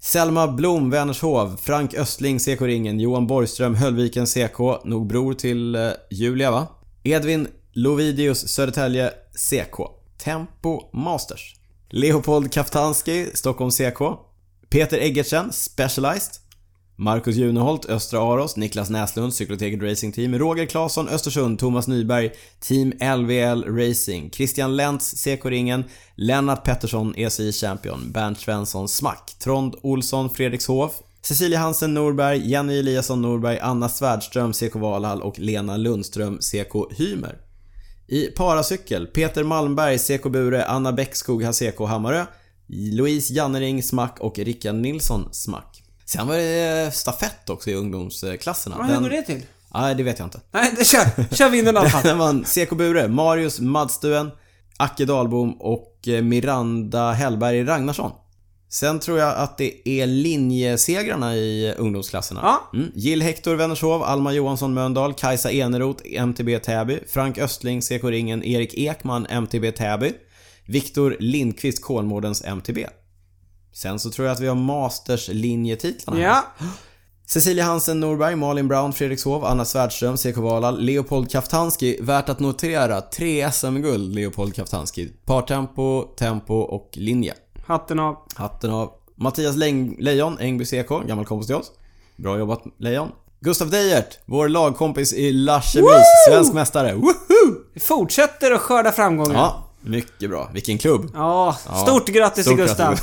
Selma Blom, Vänershov, Frank Östling, CK-ringen, Johan Borgström, Höllviken CK, nog bror till eh, Julia va? Edvin Lovidius, Södertälje CK. Tempo Masters. Leopold Kaftanski, Stockholm CK. Peter Eggertsen, Specialized. Marcus Juneholt, Östra Aros, Niklas Näslund, Cykloteket Racing Team, Roger Claesson, Östersund, Thomas Nyberg, Team LVL Racing, Christian Lentz, CK-ringen, Lennart Pettersson, ECI Champion, Bernt Svensson, Smack, Trond Olsson, Fredrikshof, Cecilia Hansen Norberg, Jenny Eliasson Norberg, Anna Svärdström, CK Valhall och Lena Lundström, CK Hymer. I paracykel, Peter Malmberg, CK Bure, Anna Bäckskog, CK Hammarö, Louise Jannering, Smack och Rickard Nilsson, Smack. Sen var det eh, stafett också i ungdomsklasserna.
Ja, hur går det till?
Nej, det vet jag inte.
Nej, det kör! Kör vinden i alla fall.
Den vann CK Bure, Marius Madstuen, Acke Dahlbom och eh, Miranda Hellberg Ragnarsson. Sen tror jag att det är linjesegrarna i ungdomsklasserna.
Ja.
Mm. Jill Hector Wennershov, Alma Johansson Mölndal, Kajsa Eneroth, MTB Täby, Frank Östling, CK Ringen, Erik Ekman, MTB Täby, Viktor Lindqvist, Kolmårdens MTB. Sen så tror jag att vi har Masters-linjetitlarna. här.
Ja.
Cecilia Hansen Norberg, Malin Brown, Fredrikshov, Anna Svärdström, CK Valhall, Leopold Kaftanski. Värt att notera, tre SM-guld Leopold Kaftanski. Partempo, tempo och linje.
Hatten av.
Hatten av Mattias Leng- Lejon, Engby CK, gammal kompis till oss. Bra jobbat Lejon. Gustav Deijert, vår lagkompis i Larsebys, svensk mästare. Woohoo!
Vi fortsätter att skörda framgångar. Ja.
Ja, mycket bra. Vilken klubb.
stort grattis
Stort
till Gustav.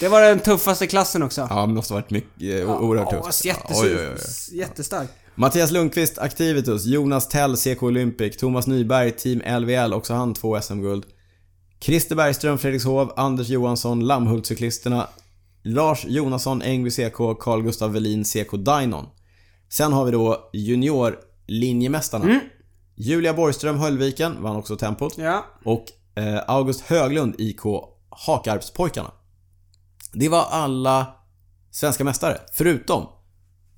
Det var den tuffaste klassen också.
Ja, det måste ha varit mycket, eh, o- oerhört
Åh,
tufft.
jättes-
Oj, oj, oj.
Jättestark.
Mattias Lundqvist, Activitus, Jonas Tell, CK Olympic, Thomas Nyberg, Team LVL, också han två SM-guld. Christer Bergström, Fredrikshov, Anders Johansson, Lammhultcyklisterna, Lars Jonasson, Engby CK, Carl Gustav Velin, CK Dynon. Sen har vi då juniorlinjemästarna. Julia Borgström, Höllviken, vann också tempot.
Ja.
Och eh, August Höglund, IK Hakarpspojkarna. Det var alla svenska mästare, förutom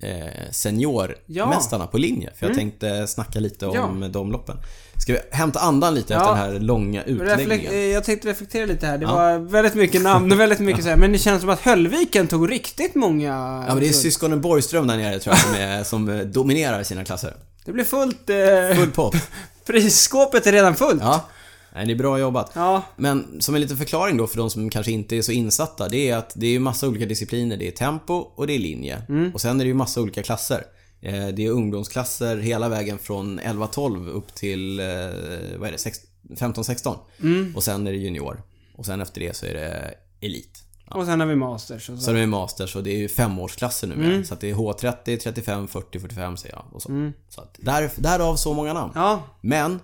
eh, seniormästarna på linje. För jag tänkte snacka lite om de loppen. Ska vi hämta andan lite efter
Ja.
den här långa
Reflek-
utläggningen?
eh, jag tänkte reflektera lite här. Det var väldigt mycket namn och väldigt mycket så här. Men det känns som att Höllviken tog riktigt många...
Ja, men det är syskonen Borgström där nere tror jag som, är, som eh, dominerar sina klasser.
Det blev fullt... Eh,
Full pott.
Prisskåpet är redan fullt. Ja.
Ja. Nej, det är bra jobbat.
Ja.
Men som en liten förklaring då för de som kanske inte är så insatta, det är att det är ju massa olika discipliner. Det är tempo och det är linje.
Mm.
Och sen är det ju massa olika klasser. Eh, Det är ungdomsklasser hela vägen från 11-12 upp till eh, vad är
Mm.
det, sex- 15-16. Och sen är det junior. Och sen efter det så är det elit. Ja.
Och sen har vi Masters. Och så.
Sen är det Masters och det är ju femårsklasser numera.
Mm.
Så att det är H30, 35, 40, 45 säger jag. Och så. Så att där, därav så många namn.
Ja,
Men,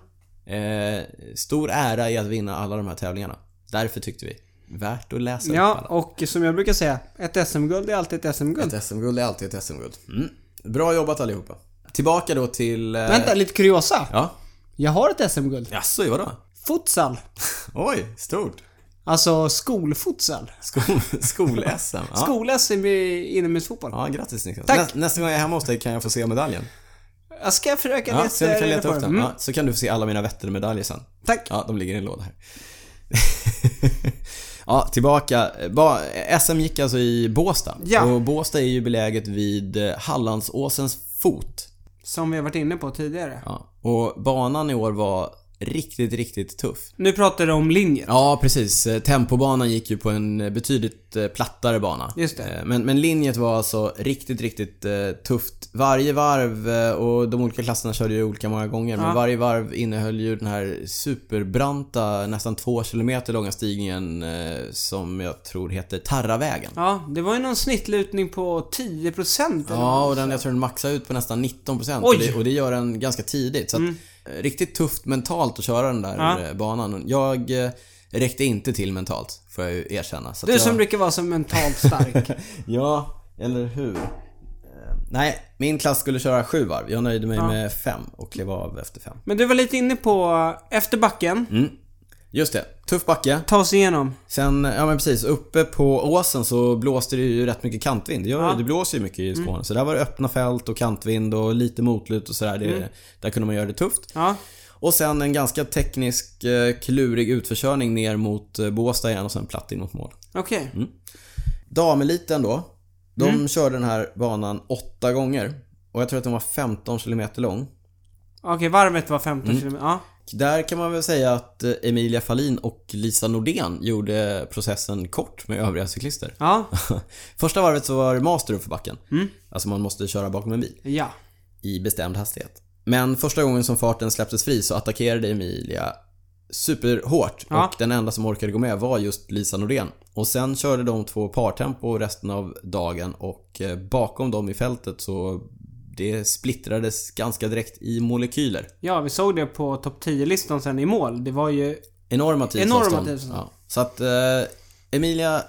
eh, stor ära i att vinna alla de här tävlingarna. Därför tyckte vi, värt att läsa upp
ja,
alla.
och som jag brukar säga, ett SM-guld är alltid ett SM-guld.
Ett SM-guld är alltid ett SM-guld. Mm. Bra jobbat allihopa. Tillbaka då till... eh,
Vänta, lite kuriosa.
Ja.
Jag har ett SM-guld.
Jaså, i vadå?
Futsal.
Oj, stort.
Alltså skolfutsal.
Skol- Skol-SM. Ja.
Skol-SM i inomhusfotboll.
ja, grattis Niklas.
Tack.
Nä, nästa gång jag är hemma hos dig kan jag få se medaljen.
Jag ska försöka
Ja,
leta,
så du kan
reda
leta
på
upp den.
Mm,
Ja, så kan du få se alla mina Vätternmedaljer sen.
Tack.
Ja, de ligger i en låda här. ja, tillbaka. Ba- SM gick alltså i Båstad.
Ja.
Och Båstad är ju beläget vid eh, Hallandsåsens fot.
Som vi har varit inne på tidigare.
Ja. Och banan i år var riktigt, riktigt tuff.
Nu pratar du om linjer.
Ja, precis. Eh, Tempobanan gick ju på en eh, betydligt eh, plattare bana.
Just det.
Eh, Men, men linjet var alltså riktigt, riktigt eh, tufft. Varje varv, eh, och de olika klasserna körde ju olika många gånger, men varje varv innehöll ju den här superbranta, nästan två kilometer långa stigningen eh, som jag tror heter Tarravägen.
Ja, det var ju någon snittlutning på 10% eller
Ja, och den, jag tror den maxar ut på nästan 19%
Oj! Mm.
och det, och det gör den ganska tidigt. Så att, eh, Riktigt tufft mentalt att köra den där
Ja.
eh, banan. Jag eh, räckte inte till mentalt, får jag ju erkänna. Så att
Du
jag...
som brukar vara så mentalt stark.
Ja, eller hur? Eh, Nej, min klass skulle köra sju varv. Jag nöjde mig med fem och klev av efter fem.
Men du var lite inne på, eh, efter backen,
Mm. Just det, tuff backe.
ta oss igenom.
Sen, ja men precis, uppe på åsen så blåste det ju rätt mycket kantvind. Det, gör, det blåser ju mycket i
Mm.
Skåne. Så där var det öppna fält och kantvind och lite motlut och sådär.
Mm.
Det, Där kunde man göra det tufft.
Ja,
Och sen en ganska teknisk, eh, klurig utförkörning ner mot eh, Båstad igen och sen platt in mot mål.
okej.
Mm. Dameliten då. De körde den här banan åtta gånger. Och jag tror att den var 15 km lång.
Okej, varvet var 15
Mm.
km. Ja.
Där kan man väl säga att eh, Emilia Fahlin och Lisa Nordén gjorde processen kort med övriga cyklister.
Ja.
Första varvet så var det master uppför backen. Alltså man måste köra bakom en bil
Ja.
i bestämd hastighet. Men första gången som farten släpptes fri så attackerade Emilia superhårt
Ja.
och den enda som orkade gå med var just Lisa Nordén. Och sen körde de två partempo resten av dagen och eh, bakom dem i fältet så det splittrades ganska direkt i molekyler.
Ja, vi såg det på topp 10-listan sen i mål. Det var ju...
Enorma tidsavstånd.
Enorma tidsavstånd.
Ja. Så att eh, Emilia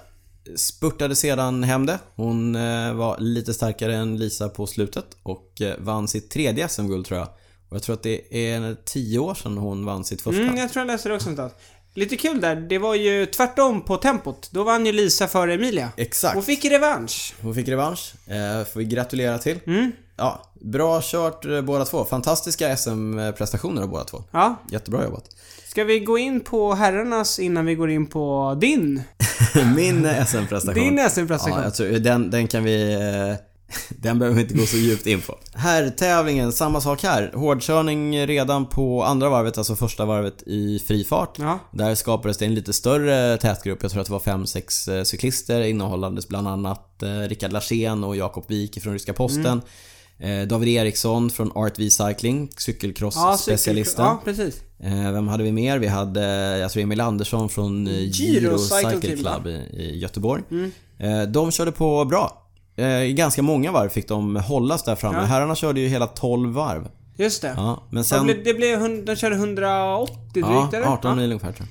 spurtade sedan hem det. Hon eh, var lite starkare än Lisa på slutet och eh, vann sitt tredje SM-guld tror jag. Och jag tror att det är tio år sedan hon vann sitt första.
Mm, jag tror jag läste det också någonstans. Lite kul där, det var ju tvärtom på tempot. Då vann ju Lisa före Emilia.
Exakt.
Hon fick revansch.
Hon fick revansch. Eh, får vi gratulera till.
Mm.
Ja, bra kört eh, båda två. Fantastiska SM-prestationer av båda två.
Ja.
Jättebra jobbat.
Ska vi gå in på herrarnas innan vi går in på din?
Min eh, SM-prestation.
Din SM-prestation.
Ja, jag tror, den, den kan vi... eh, Den behöver vi inte gå så djupt in på. Här tävlingen, samma sak här. Hårdkörning redan på andra varvet, alltså första varvet i fri fart.
Ja.
Där skapades det en lite större tätgrupp. Jag tror att det var fem, sex eh, cyklister innehållandes bland annat eh, Rickard Larsén och Jakob Wik från Ryska
Mm.
Posten. Eh, David Eriksson från Art V Cycling, cykelcross-specialisten.
cykel- Ja, precis.
Eh, Vem hade vi mer? Vi hade, eh, jag tror Emil Andersson från eh,
Giro
Giro
Cycle
Cycle
Team, va? Mm.
Club i i Göteborg. Eh, De körde på bra. Eh, I ganska många varv fick de hållas där framme. Herrarna körde ju hela 12 varv.
Just det.
Ja, men
Sen...
sen...
Det blev, det blev, hun- de körde 180
Ja,
drygt eller?
18 mil ungefär tror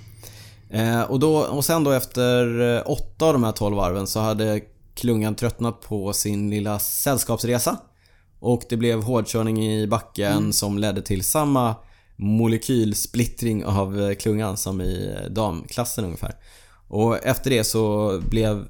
jag. Eh, och, då, och sen då efter eh, åtta av de här 12 varven så hade klungan tröttnat på sin lilla sällskapsresa. Och det blev hårdkörning i backen som ledde till samma molekylsplittring av eh, klungan som i eh, damklassen ungefär. Och efter det så blev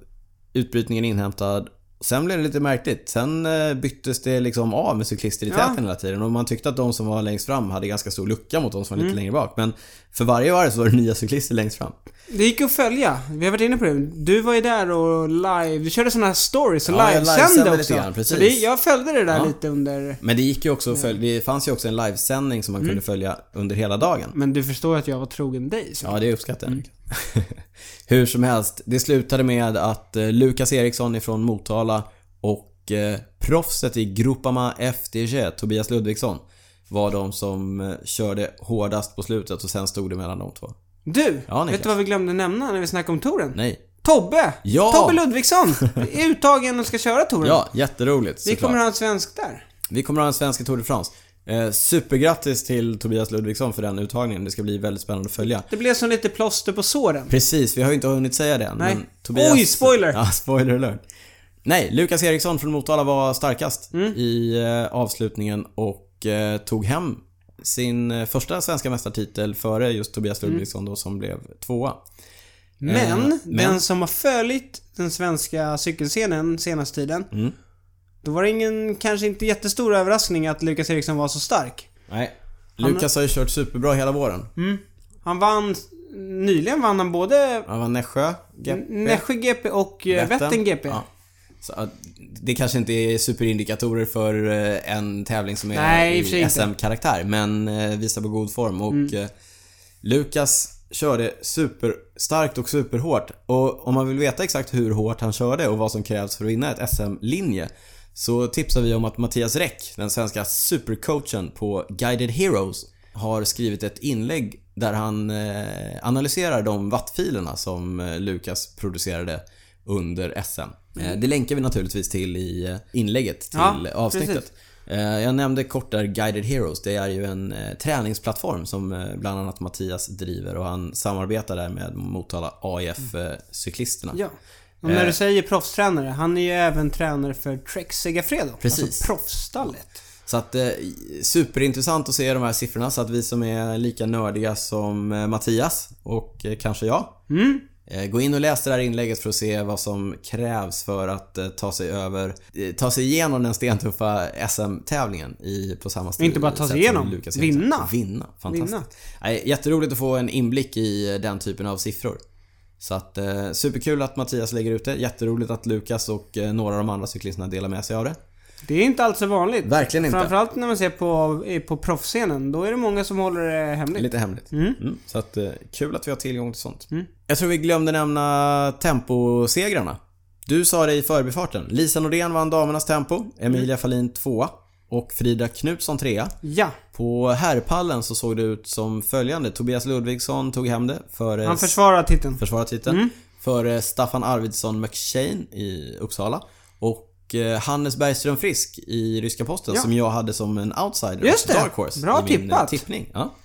utbrytningen inhämtad. Sen blev det lite märkligt. Sen eh, byttes det liksom av med cyklister i täten hela tiden. Och man tyckte att de som var längst fram hade ganska stor lucka mot de som var lite längre bak. Men för varje varv så var det nya cyklister längst fram.
Det gick att följa. Vi har varit inne på det. Du var ju där och live... Du körde sådana här stories och
Ja, jag
livesände
livesände
också.
lite grann, precis.
Så det, jag följde det där
Ja.
lite under...
Men det gick ju också att följa, det fanns ju också en livesändning som man kunde följa under hela dagen.
Men du förstår att jag var trogen dig. Så.
Ja, det uppskattar
Mm.
jag. Hur som helst, det slutade med att eh, Lukas Eriksson ifrån Motala och eh, proffset i Groupama FDG, Tobias Ludvigsson, var de som eh, körde hårdast på slutet och sen stod det mellan de två.
Du!
Ja, Niklas.
vet du vad vi glömde nämna när vi snackade om touren?
Nej,
Tobbe!
Ja!
Tobbe Ludvigsson! Är uttagen och ska köra touren.
Ja, jätteroligt
Mm. Vi
såklart.
kommer ha en svensk där.
Vi kommer ha en svensk i Tour de France. Eh, supergrattis till Tobias Ludvigsson för den uttagningen. Det ska bli väldigt spännande att följa.
Det blev som lite plåster på såren.
Precis, vi har ju inte hunnit säga det än.
Nej.
Men Tobias...
Oj, spoiler!
Ja, spoiler alert. Nej, Lukas Eriksson från Motala var starkast
Mm.
i eh, avslutningen och eh, tog hem sin eh, första svenska mästartitel före just Tobias
Mm.
Ludvigsson då som blev tvåa.
Men,
Eh, men-
den som har följt den svenska cykelscenen senaste tiden.
Mm.
Då var det ingen, kanske inte jättestor överraskning att Lukas Eriksson var så stark.
Nej. Lukas har ju kört superbra hela våren.
Mm. Han vann, nyligen vann han både
Han var Nässjö, GP.
Nässjö GP och eh, Vättern GP.
Ja. Så, att det kanske inte är superindikatorer för eh, en tävling som är
Nej, i och för sig
i
inte. Mm.
SM-karaktär, men eh, visar på god form. Och eh, Lukas körde superstarkt och superhårt. Och om man vill veta exakt hur hårt han körde och vad som krävs för att vinna ett SM-linje så tipsar vi om att Mattias Räck, den svenska supercoachen på Guided Heroes, har skrivit ett inlägg där han eh, analyserar de wattfilerna som eh, Lukas producerade under SM. Eh, Det länkar vi naturligtvis till i eh, inlägget till
Mm. Ja,
avsnittet.
precis.
Eh, Jag nämnde kort där Guided Heroes. Det är ju en eh, träningsplattform som eh, bland annat Mattias driver och han samarbetar där med Motala eh, AIF-cyklisterna.
Ja. Och
Eh.
när du säger proffstränare, han är ju även tränare för Trek Segafredo.
Precis.
Alltså proffsstallet.
Så att eh, superintressant att se de här siffrorna så att vi som är lika nördiga som eh, Mattias och eh, kanske jag.
Mm.
eh, Gå in och läs det här inlägget för att se vad som krävs för att eh, ta sig över, eh, ta sig igenom den stentuffa SM-tävlingen i, på samma ställe.
Inte bara ta sig igenom, vinna.
Vinna, fantastiskt.
Vinna.
Nej, jätteroligt att få en inblick i den typen av siffror. Så att eh, superkul att Mattias lägger ut det. Jätteroligt att Lukas och eh, några av de andra cyklisterna delar med sig av det.
Det är inte alls så vanligt.
Verkligen inte.
Framförallt när man ser på, eh, på proffsscenen. Då är det många som håller det hemligt.
Lite hemligt. Mm. Så att, eh, kul att vi har tillgång till sånt. Jag tror vi glömde nämna temposegrarna. Du sa det i förbifarten. Lisa Nordén vann damernas tempo. Emilia Fahlin tvåa. Och Frida Knutsson trea.
Ja.
På herrpallen så såg det ut som följande. Tobias Ludvigsson tog hem det före
Han försvarar titeln.
försvarar titeln.
Mm.
Före eh, Staffan Arvidsson McShane i Uppsala. Och eh, Hannes Bergström Frisk i Ryska Posten som jag hade som en outsider.
Just det.
Dark horse
Bra
i min, eh,
tippat.
tippning. Ja.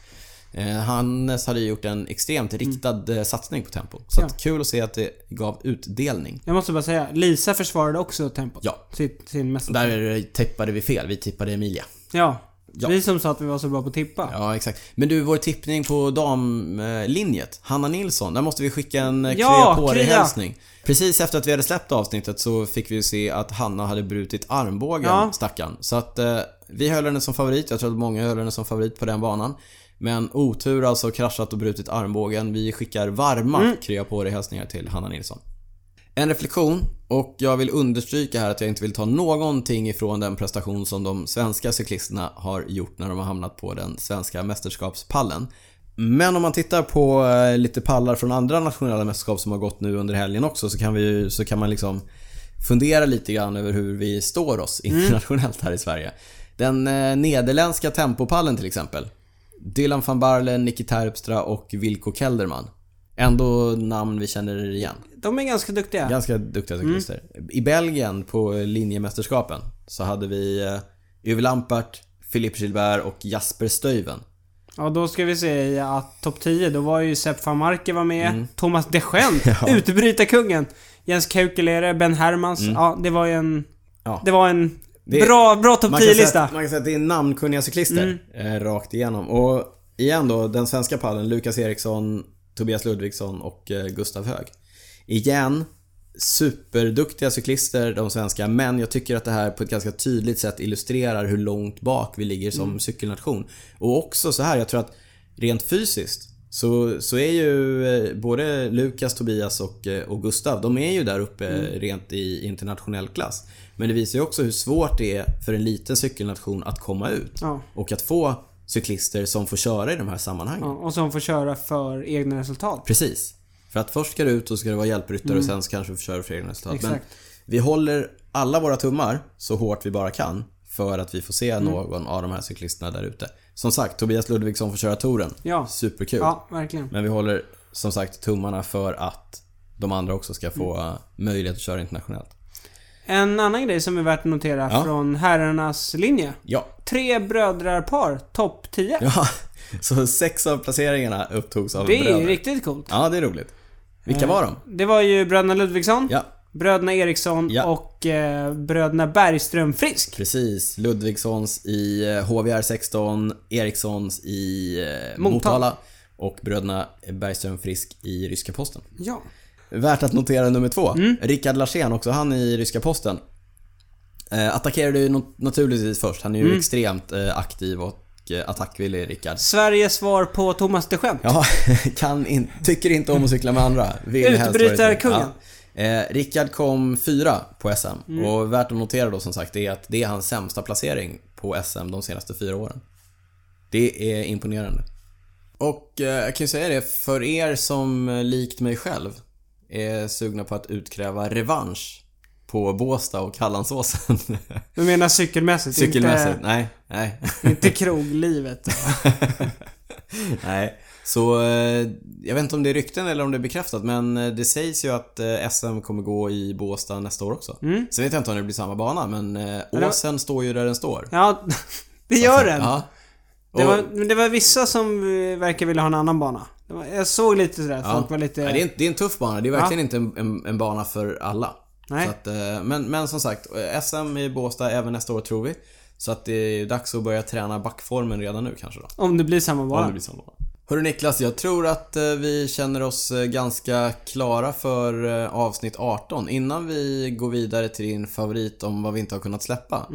Eh, Hannes hade ju gjort en extremt
Mm.
riktad eh, satsning på tempo. Så att kul att se att det gav utdelning.
Jag måste bara säga, Lisa försvarade också tempot.
Ja.
Sitt, sin mest...
Där eh, tippade vi fel. Vi tippade Emilia.
Ja. Vi som sa att vi var så bra på att tippa.
Ja, exakt. Men du, vår tippning på damlinjet, Hanna Nilsson, där måste vi skicka en eh,
Ja,
krya på
krya.
dig-hälsning. Precis efter att vi hade släppt avsnittet så fick vi ju se att Hanna hade brutit armbågen,
Ja.
stackarn. Så att eh, vi höll henne som favorit, jag tror att många höll henne som favorit på den banan. Men otur alltså, kraschat och brutit armbågen. Vi skickar varma
Mm.
krya på dig-hälsningar till Hanna Nilsson. En reflektion och jag vill understryka här att jag inte vill ta någonting ifrån den prestation som de svenska cyklisterna har gjort när de har hamnat på den svenska mästerskapspallen. Men om man tittar på eh, lite pallar från andra nationella mästerskap som har gått nu under helgen också så kan, vi, ju- så kan man liksom fundera lite grann över hur vi står oss internationellt här i Sverige. Den eh, nederländska tempopallen till exempel. Dylan van Barle, Nicky Terpstra och Wilco Kelderman. Ändå namn vi känner igen.
De är ganska duktiga.
Ganska duktiga cyklister. I Belgien på linjemästerskapen så hade vi eh, Yves Lampart, Philippe Gilbert och Jasper Stuyven.
Ja, då ska vi se att topp 10, då var ju Sepp van Marke var med,
Mm.
Thomas de Gent, utbrytarkungen, Jens Kaukelere, Ben Hermans. Ja, det var ju en...
Mm. Ja.
Det var en
Det-
bra, bra topp
Man kan, säga
10-lista.
att, man kan säga att det är namnkunniga cyklister eh, rakt igenom. Och igen då, den svenska pallen. Lukas Eriksson, Tobias Ludvigsson och eh, Gustav Hög. Igen, superduktiga cyklister de svenska. Men jag tycker att det här på ett ganska tydligt sätt illustrerar hur långt bak vi ligger som cykelnation. Och också så här, jag tror att rent fysiskt så, så är ju eh, både Lukas, Tobias och, eh, och Gustav, de är ju där uppe
Mm.
eh, rent i internationell klass. Men det visar ju också hur svårt det är för en liten cykelnation att komma ut.
Ja.
Och att få cyklister som får köra i de här sammanhangen.
Ja, och som får köra för egna resultat.
Precis. För att först ska du ut och ska du vara hjälpryttare och sen så kanske du får köra för egna resultat. Men
Mm. Exakt.
vi håller alla våra tummar så hårt vi bara kan för att vi får
Mm.
se någon av de här cyklisterna där ute. Som sagt, Tobias Ludvigsson får köra touren.
Ja.
Superkul.
Ja, verkligen.
Men vi håller som sagt tummarna för att de andra också ska få
Mm.
eh, möjlighet att köra internationellt.
En annan grej som är värt att notera
Ja.
från herrarnas linje.
Ja.
Tre brödrarpar, topp 10.
ja. Så sex av placeringarna upptogs av
det är Eh.
bröder.
ju riktigt coolt.
Ja, det är roligt. Vilka var de?
Det var ju bröderna Ludvigsson,
Ja,
bröderna Eriksson
Ja.
och eh, bröderna Bergström Frisk.
precis. Ludvigssons i eh, HVR 16, Erikssons i eh,
Motala.
Motala och bröderna Bergström Frisk i Ryska Posten.
Ja.
Värt att notera nummer två. Rickard Larsén, också han i Ryska Posten. Eh, attackerade ju no- naturligtvis först. Han är ju extremt eh, aktiv och eh, attackvillig, Rickard.
Sveriges svar på Thomas de Skämt.
Ja, kan in, tycker inte om att cykla med andra. Vill helst vara
Utbrytarkungen.
ute. Ja. Eh, Rickard kom fyra på SM och värt att notera då som sagt det är att det är hans sämsta placering på SM de senaste fyra åren. Det är imponerande. Och eh, jag kan ju säga det, för er som eh, likt mig själv är sugna på att utkräva revansch på Båstad och Hallandsåsen.
Du menar cykelmässigt?
Cykelmässigt, nej, nej.
Inte, inte kroglivet.
Nej, så eh, jag vet inte om det är rykten eller om det är bekräftat men eh, det sägs ju att eh, SM kommer gå i Båstad nästa år också. Sen vet jag inte om det blir samma bana men eh,
Mm. det-
åsen står ju där den står.
Ja, det gör den.
Alltså, Ja. Och,
Det var, men det var vissa som eh, verkar vilja ha en annan bana. Det var- Jag såg lite sådär, att folk var lite...
ja, det, är en, det är en tuff bana, det är verkligen inte en, en, en bana för alla.
Nej.
Så att, eh, men, men som sagt, eh, SM i Båstad även nästa år tror vi. Så att det är dags att börja träna backformen redan nu kanske då.
Om det blir samma
Om
bana.
det blir samma. Hörru Niklas, jag tror att eh, vi känner oss eh, ganska klara för eh, avsnitt 18. Innan vi går vidare till din favorit om vad vi inte har kunnat släppa.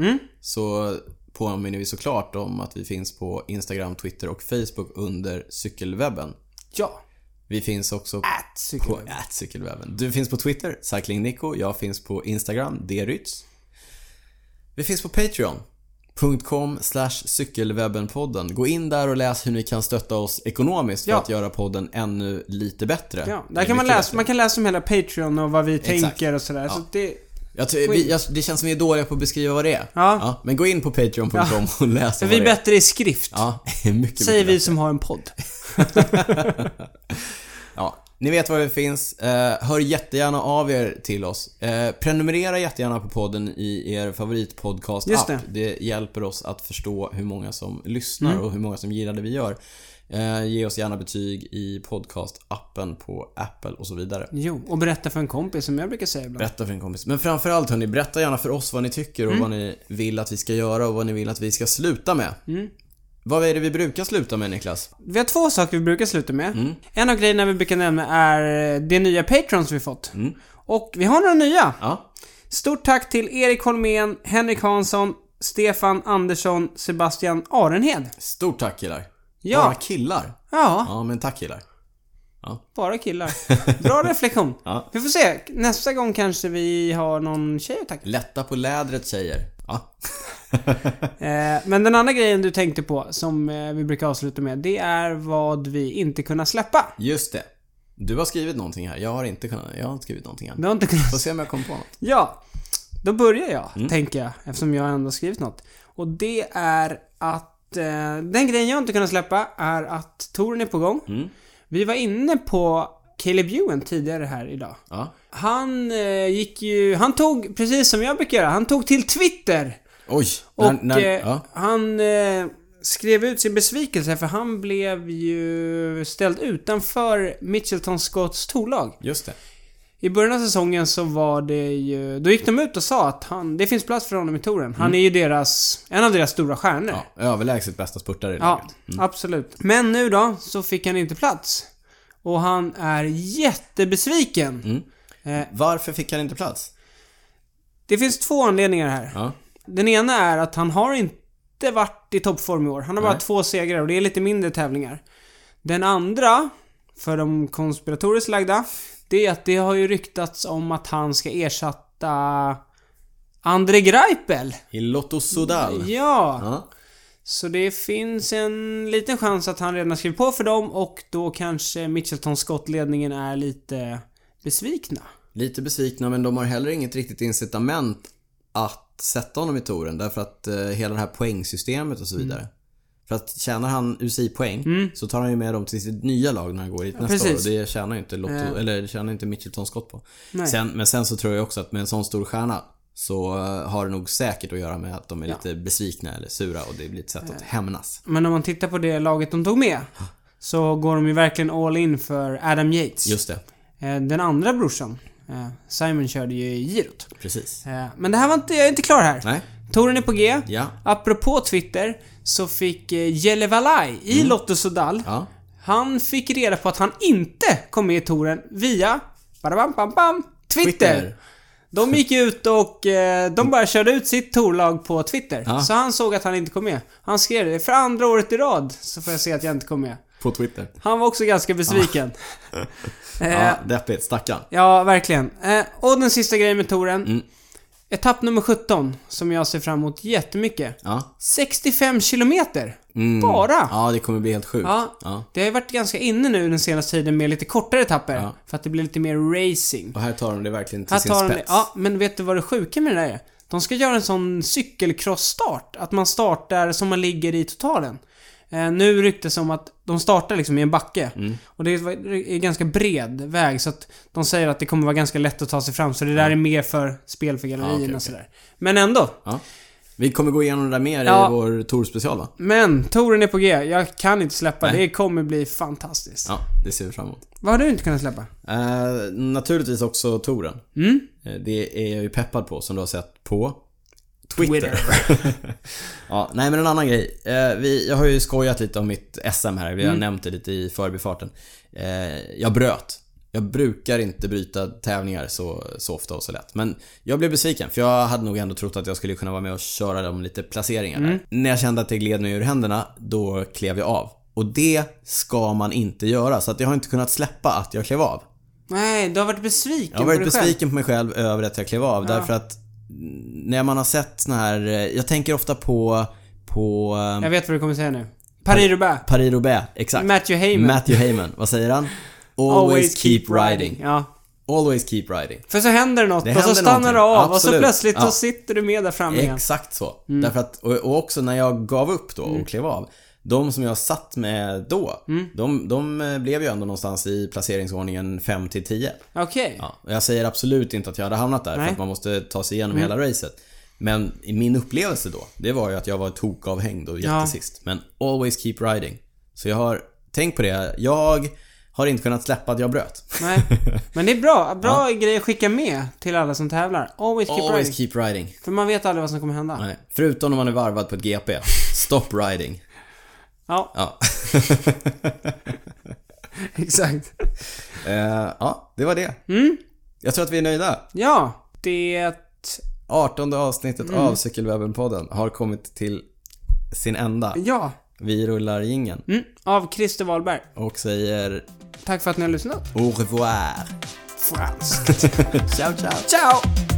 Så påminner vi såklart om att vi finns på Instagram, Twitter och Facebook under cykelwebben.
Ja.
Vi finns också
Ät cykel.
på at cykelwebben. Du finns på Twitter, cyclingnico. Jag finns på Instagram, drytz. Vi finns på Patreon.com slash cykelwebbenpodden. Gå in där och läs hur ni kan stötta oss ekonomiskt för
Ja.
att göra podden ännu lite bättre.
Ja,
Det
där
är
kan man
mycket
läsa,
bättre.
man kan läsa om hela Patreon och vad vi tänker och sådär. Så det,
Jag tror, vi, jag, det känns som vi är dåliga på att beskriva vad det är.
Ja.
men gå in på Patreon.com och läs om
vi
vad
är
det är.
bättre i skrift.
Ja, mycket, mycket
säger
bättre.
vi som har en podd.
Ja, ni vet var vi finns. Eh, hör jättegärna av er till oss. Eh, prenumerera jättegärna på podden i er
Just
favoritpodcast-app.
det.
det hjälper oss att förstå hur många som lyssnar
Mm.
och hur många som gillar det vi gör. Eh, ge oss gärna betyg i podcast-appen på Apple och så vidare.
Jo, och berätta för en kompis som jag brukar säga ibland.
Berätta för en kompis. Men framförallt hörni, berätta gärna för oss vad ni tycker
Mm.
och vad ni vill att vi ska göra och vad ni vill att vi ska sluta med.
Mm.
Vad är det vi brukar sluta med Niklas?
Vi har två saker vi brukar sluta med. En av grejerna vi brukar nämna är de nya Patrons vi fått. Och vi har några nya.
Ja,
Stort tack till Erik Holmén, Henrik Hansson, Stefan Andersson, Sebastian Arenhed.
stort tack killar.
Ja. Ah.
Bara killar.
Ja,
Ja, men tack killar.
bara killar. Bra reflektion.
Ja.
Vi får se. Nästa gång kanske vi har någon tjej att tacka.
Lätta på lädret tjejer. Ja.
Eh, men den andra grejen du tänkte på, som eh, vi brukar avsluta med, det är vad vi inte kunnat släppa.
Just det. Du har skrivit någonting här. Jag har inte kunnat. Jag har inte skrivit någonting
Du
här.
har inte kunnat
Får se om jag kommer på något.
Ja, då börjar jag,
Mm.
tänker jag, eftersom jag ändå har skrivit något. Och det är att eh, den grejen jag inte kunnat släppa är att touren är på gång.
Mm.
Vi var inne på Caleb Ewan tidigare här idag.
Ja.
Han eh, gick ju, han tog, precis som jag brukar göra, han tog till Twitter.
Oj.
Och
när, när,
eh,
ja.
han eh, skrev ut sin besvikelse för han blev ju ställd utanför Mitchelton Scotts torlag.
Just det.
I början av säsongen så var det ju... Då gick de ut och sa att han, det finns plats för honom i touren. Han är ju deras... En av deras stora stjärnor. Ja,
Ja, överlägset bästa spurtare i laget.
absolut. Men nu då, så fick han inte plats. Och han är jättebesviken.
Varför fick han inte plats?
Det finns två anledningar här.
Ja.
Den ena är att han har inte varit i toppform i år. Han har bara två segrar och det är lite mindre tävlingar. Den andra, för de konspiratoriskt lagda, det är att det har ju ryktats om att han ska ersätta André Greipel.
I Lotto Sudal.
Ja,
Ja.
så det finns en liten chans att han redan har skrivit på för dem och då kanske Mitchelton Scott-ledningen är lite besvikna.
Lite besvikna men de har heller inget riktigt
Mm.
incitament att sätta honom i touren därför att eh, hela det här poängsystemet och så vidare. För För att tjänar han UCI-poäng så tar han ju med dem till sitt nya lag när han går hit nästa
precis.
år. Och det tjänar ju inte, Lotto,
Eh.
eller det tjänar inte Mitchelton Scott på.
Nej.
Sen, men sen så tror jag också att med en sån stor stjärna så eh, har det nog säkert att göra med att de är lite besvikna eller sura och det blir ett sätt
Eh.
att hämnas.
Men om man tittar på det laget de tog med så går de ju verkligen all in för Adam Yates.
Just det,
Eh, Den andra brorsan, eh, Simon, körde ju i girot.
precis.
Eh, Men det här var inte, jag är inte klar här.
Nej,
Touren är på G.
ja,
Apropå Twitter så fick eh, Jelle Valai i Lotto Sodal,
Mm. ja.
han fick reda på att han inte kom med i touren via badabam, bam, bam, Twitter.
Twitter.
De gick ut och eh, de bara körde ut sitt torlag på Twitter.
Ja.
Så han såg att han inte kom med. Han skrev det, för andra året i rad så får jag se att jag inte kom med.
På Twitter.
Han var också ganska besviken. eh,
Ja, deppigt. Stackarn.
ja, verkligen. Eh, och den sista grejen med touren.
Mm.
Etapp nummer 17, som jag ser fram emot jättemycket.
Ja.
65 kilometer.
Mm.
Bara.
Ja, det kommer bli helt sjukt.
Ja.
Ja.
Det har ju varit ganska inne nu den senaste tiden med lite kortare etapper.
Ja.
För att det blir lite mer racing.
Och här tar de det verkligen till
Här
sin
tar de,
spets.
ja, men vet du vad det sjuka med det där är? De ska göra en sån cykelcross-start. Att man startar som man ligger i totalen. Eh, nu ryktas det om att de startar liksom i en backe.
Mm.
Och det är är ganska bred väg så att de säger att det kommer vara ganska lätt att ta sig fram. Så det där är mer för spel för gallerierna
okej, okej.
sådär. Men ändå.
Ja. Vi kommer gå igenom det där mer
Ja.
i vår Tor-special va?
Men, touren är på G. Jag kan inte släppa.
Nej.
Det kommer bli fantastiskt.
Ja, det ser vi fram emot.
Vad har du inte kunnat släppa?
Eh, naturligtvis också touren.
Mm?
Eh, Det är jag ju peppad på som du har sett på Twitter. ja, nej men en annan grej. Eh, vi, jag har ju skojat lite om mitt SM här. Vi har nämnt det lite i förbifarten. Eh, jag bröt. Jag brukar inte bryta tävlingar så, så ofta och så lätt. Men jag blev besviken för jag hade nog ändå trott att jag skulle kunna vara med och köra dem lite placeringar där. När jag kände att det gled mig ur händerna, då klev jag av. Och det ska man inte göra. Så att jag har inte kunnat släppa att jag klev av.
Nej, du har varit besviken
Jag har varit
på dig själv.
besviken på mig själv över att jag klev av därför att när man har sett såna här, eh, jag tänker ofta på, på eh,
Jag vet vad du kommer säga nu. Paris-Roubaix.
Paris-Roubaix, exakt.
Matthew Heyman.
Matthew Heyman, vad säger han? Always, keep riding.
Ja.
Always keep riding.
För så händer det något
Det
och så
händer
stannar
någonting.
du av och så
Absolut.
plötsligt så
Ja.
sitter du med där framme igen.
Exakt så.
Mm.
Därför att, och, och också när jag gav upp då och klev av. De som jag satt med då,
Mm.
de, de eh, blev ju ändå någonstans i placeringsordningen 5 till 10.
Okej.
Ja, och jag säger absolut inte att jag hade hamnat där
Nej. Mm.
för att man måste ta sig igenom hela racet. Men i min upplevelse då, det var ju att jag var tokavhängd och jättesist. Men always keep riding. Så jag har tänkt på det. Jag har inte kunnat släppa att jag bröt.
Nej. Men det är bra. Bra grej att skicka med till alla som tävlar. Always keep
always
riding.
keep riding.
För man vet aldrig vad som kommer hända.
Nej. Förutom om man är varvad på ett GP. Stop riding.
Ja,
Ja.
exakt.
Eh, ja, det var det.
Mm.
Jag tror att vi är nöjda.
Ja, det...
18 avsnittet
Mm.
av Cykelwebben-podden har kommit till sin ända.
Ja.
Vi rullar jingeln
Mm. Av Christer Wahlberg.
och säger
Tack för att ni har lyssnat.
Au revoir.
Franskt.
Ciao, ciao.
Ciao!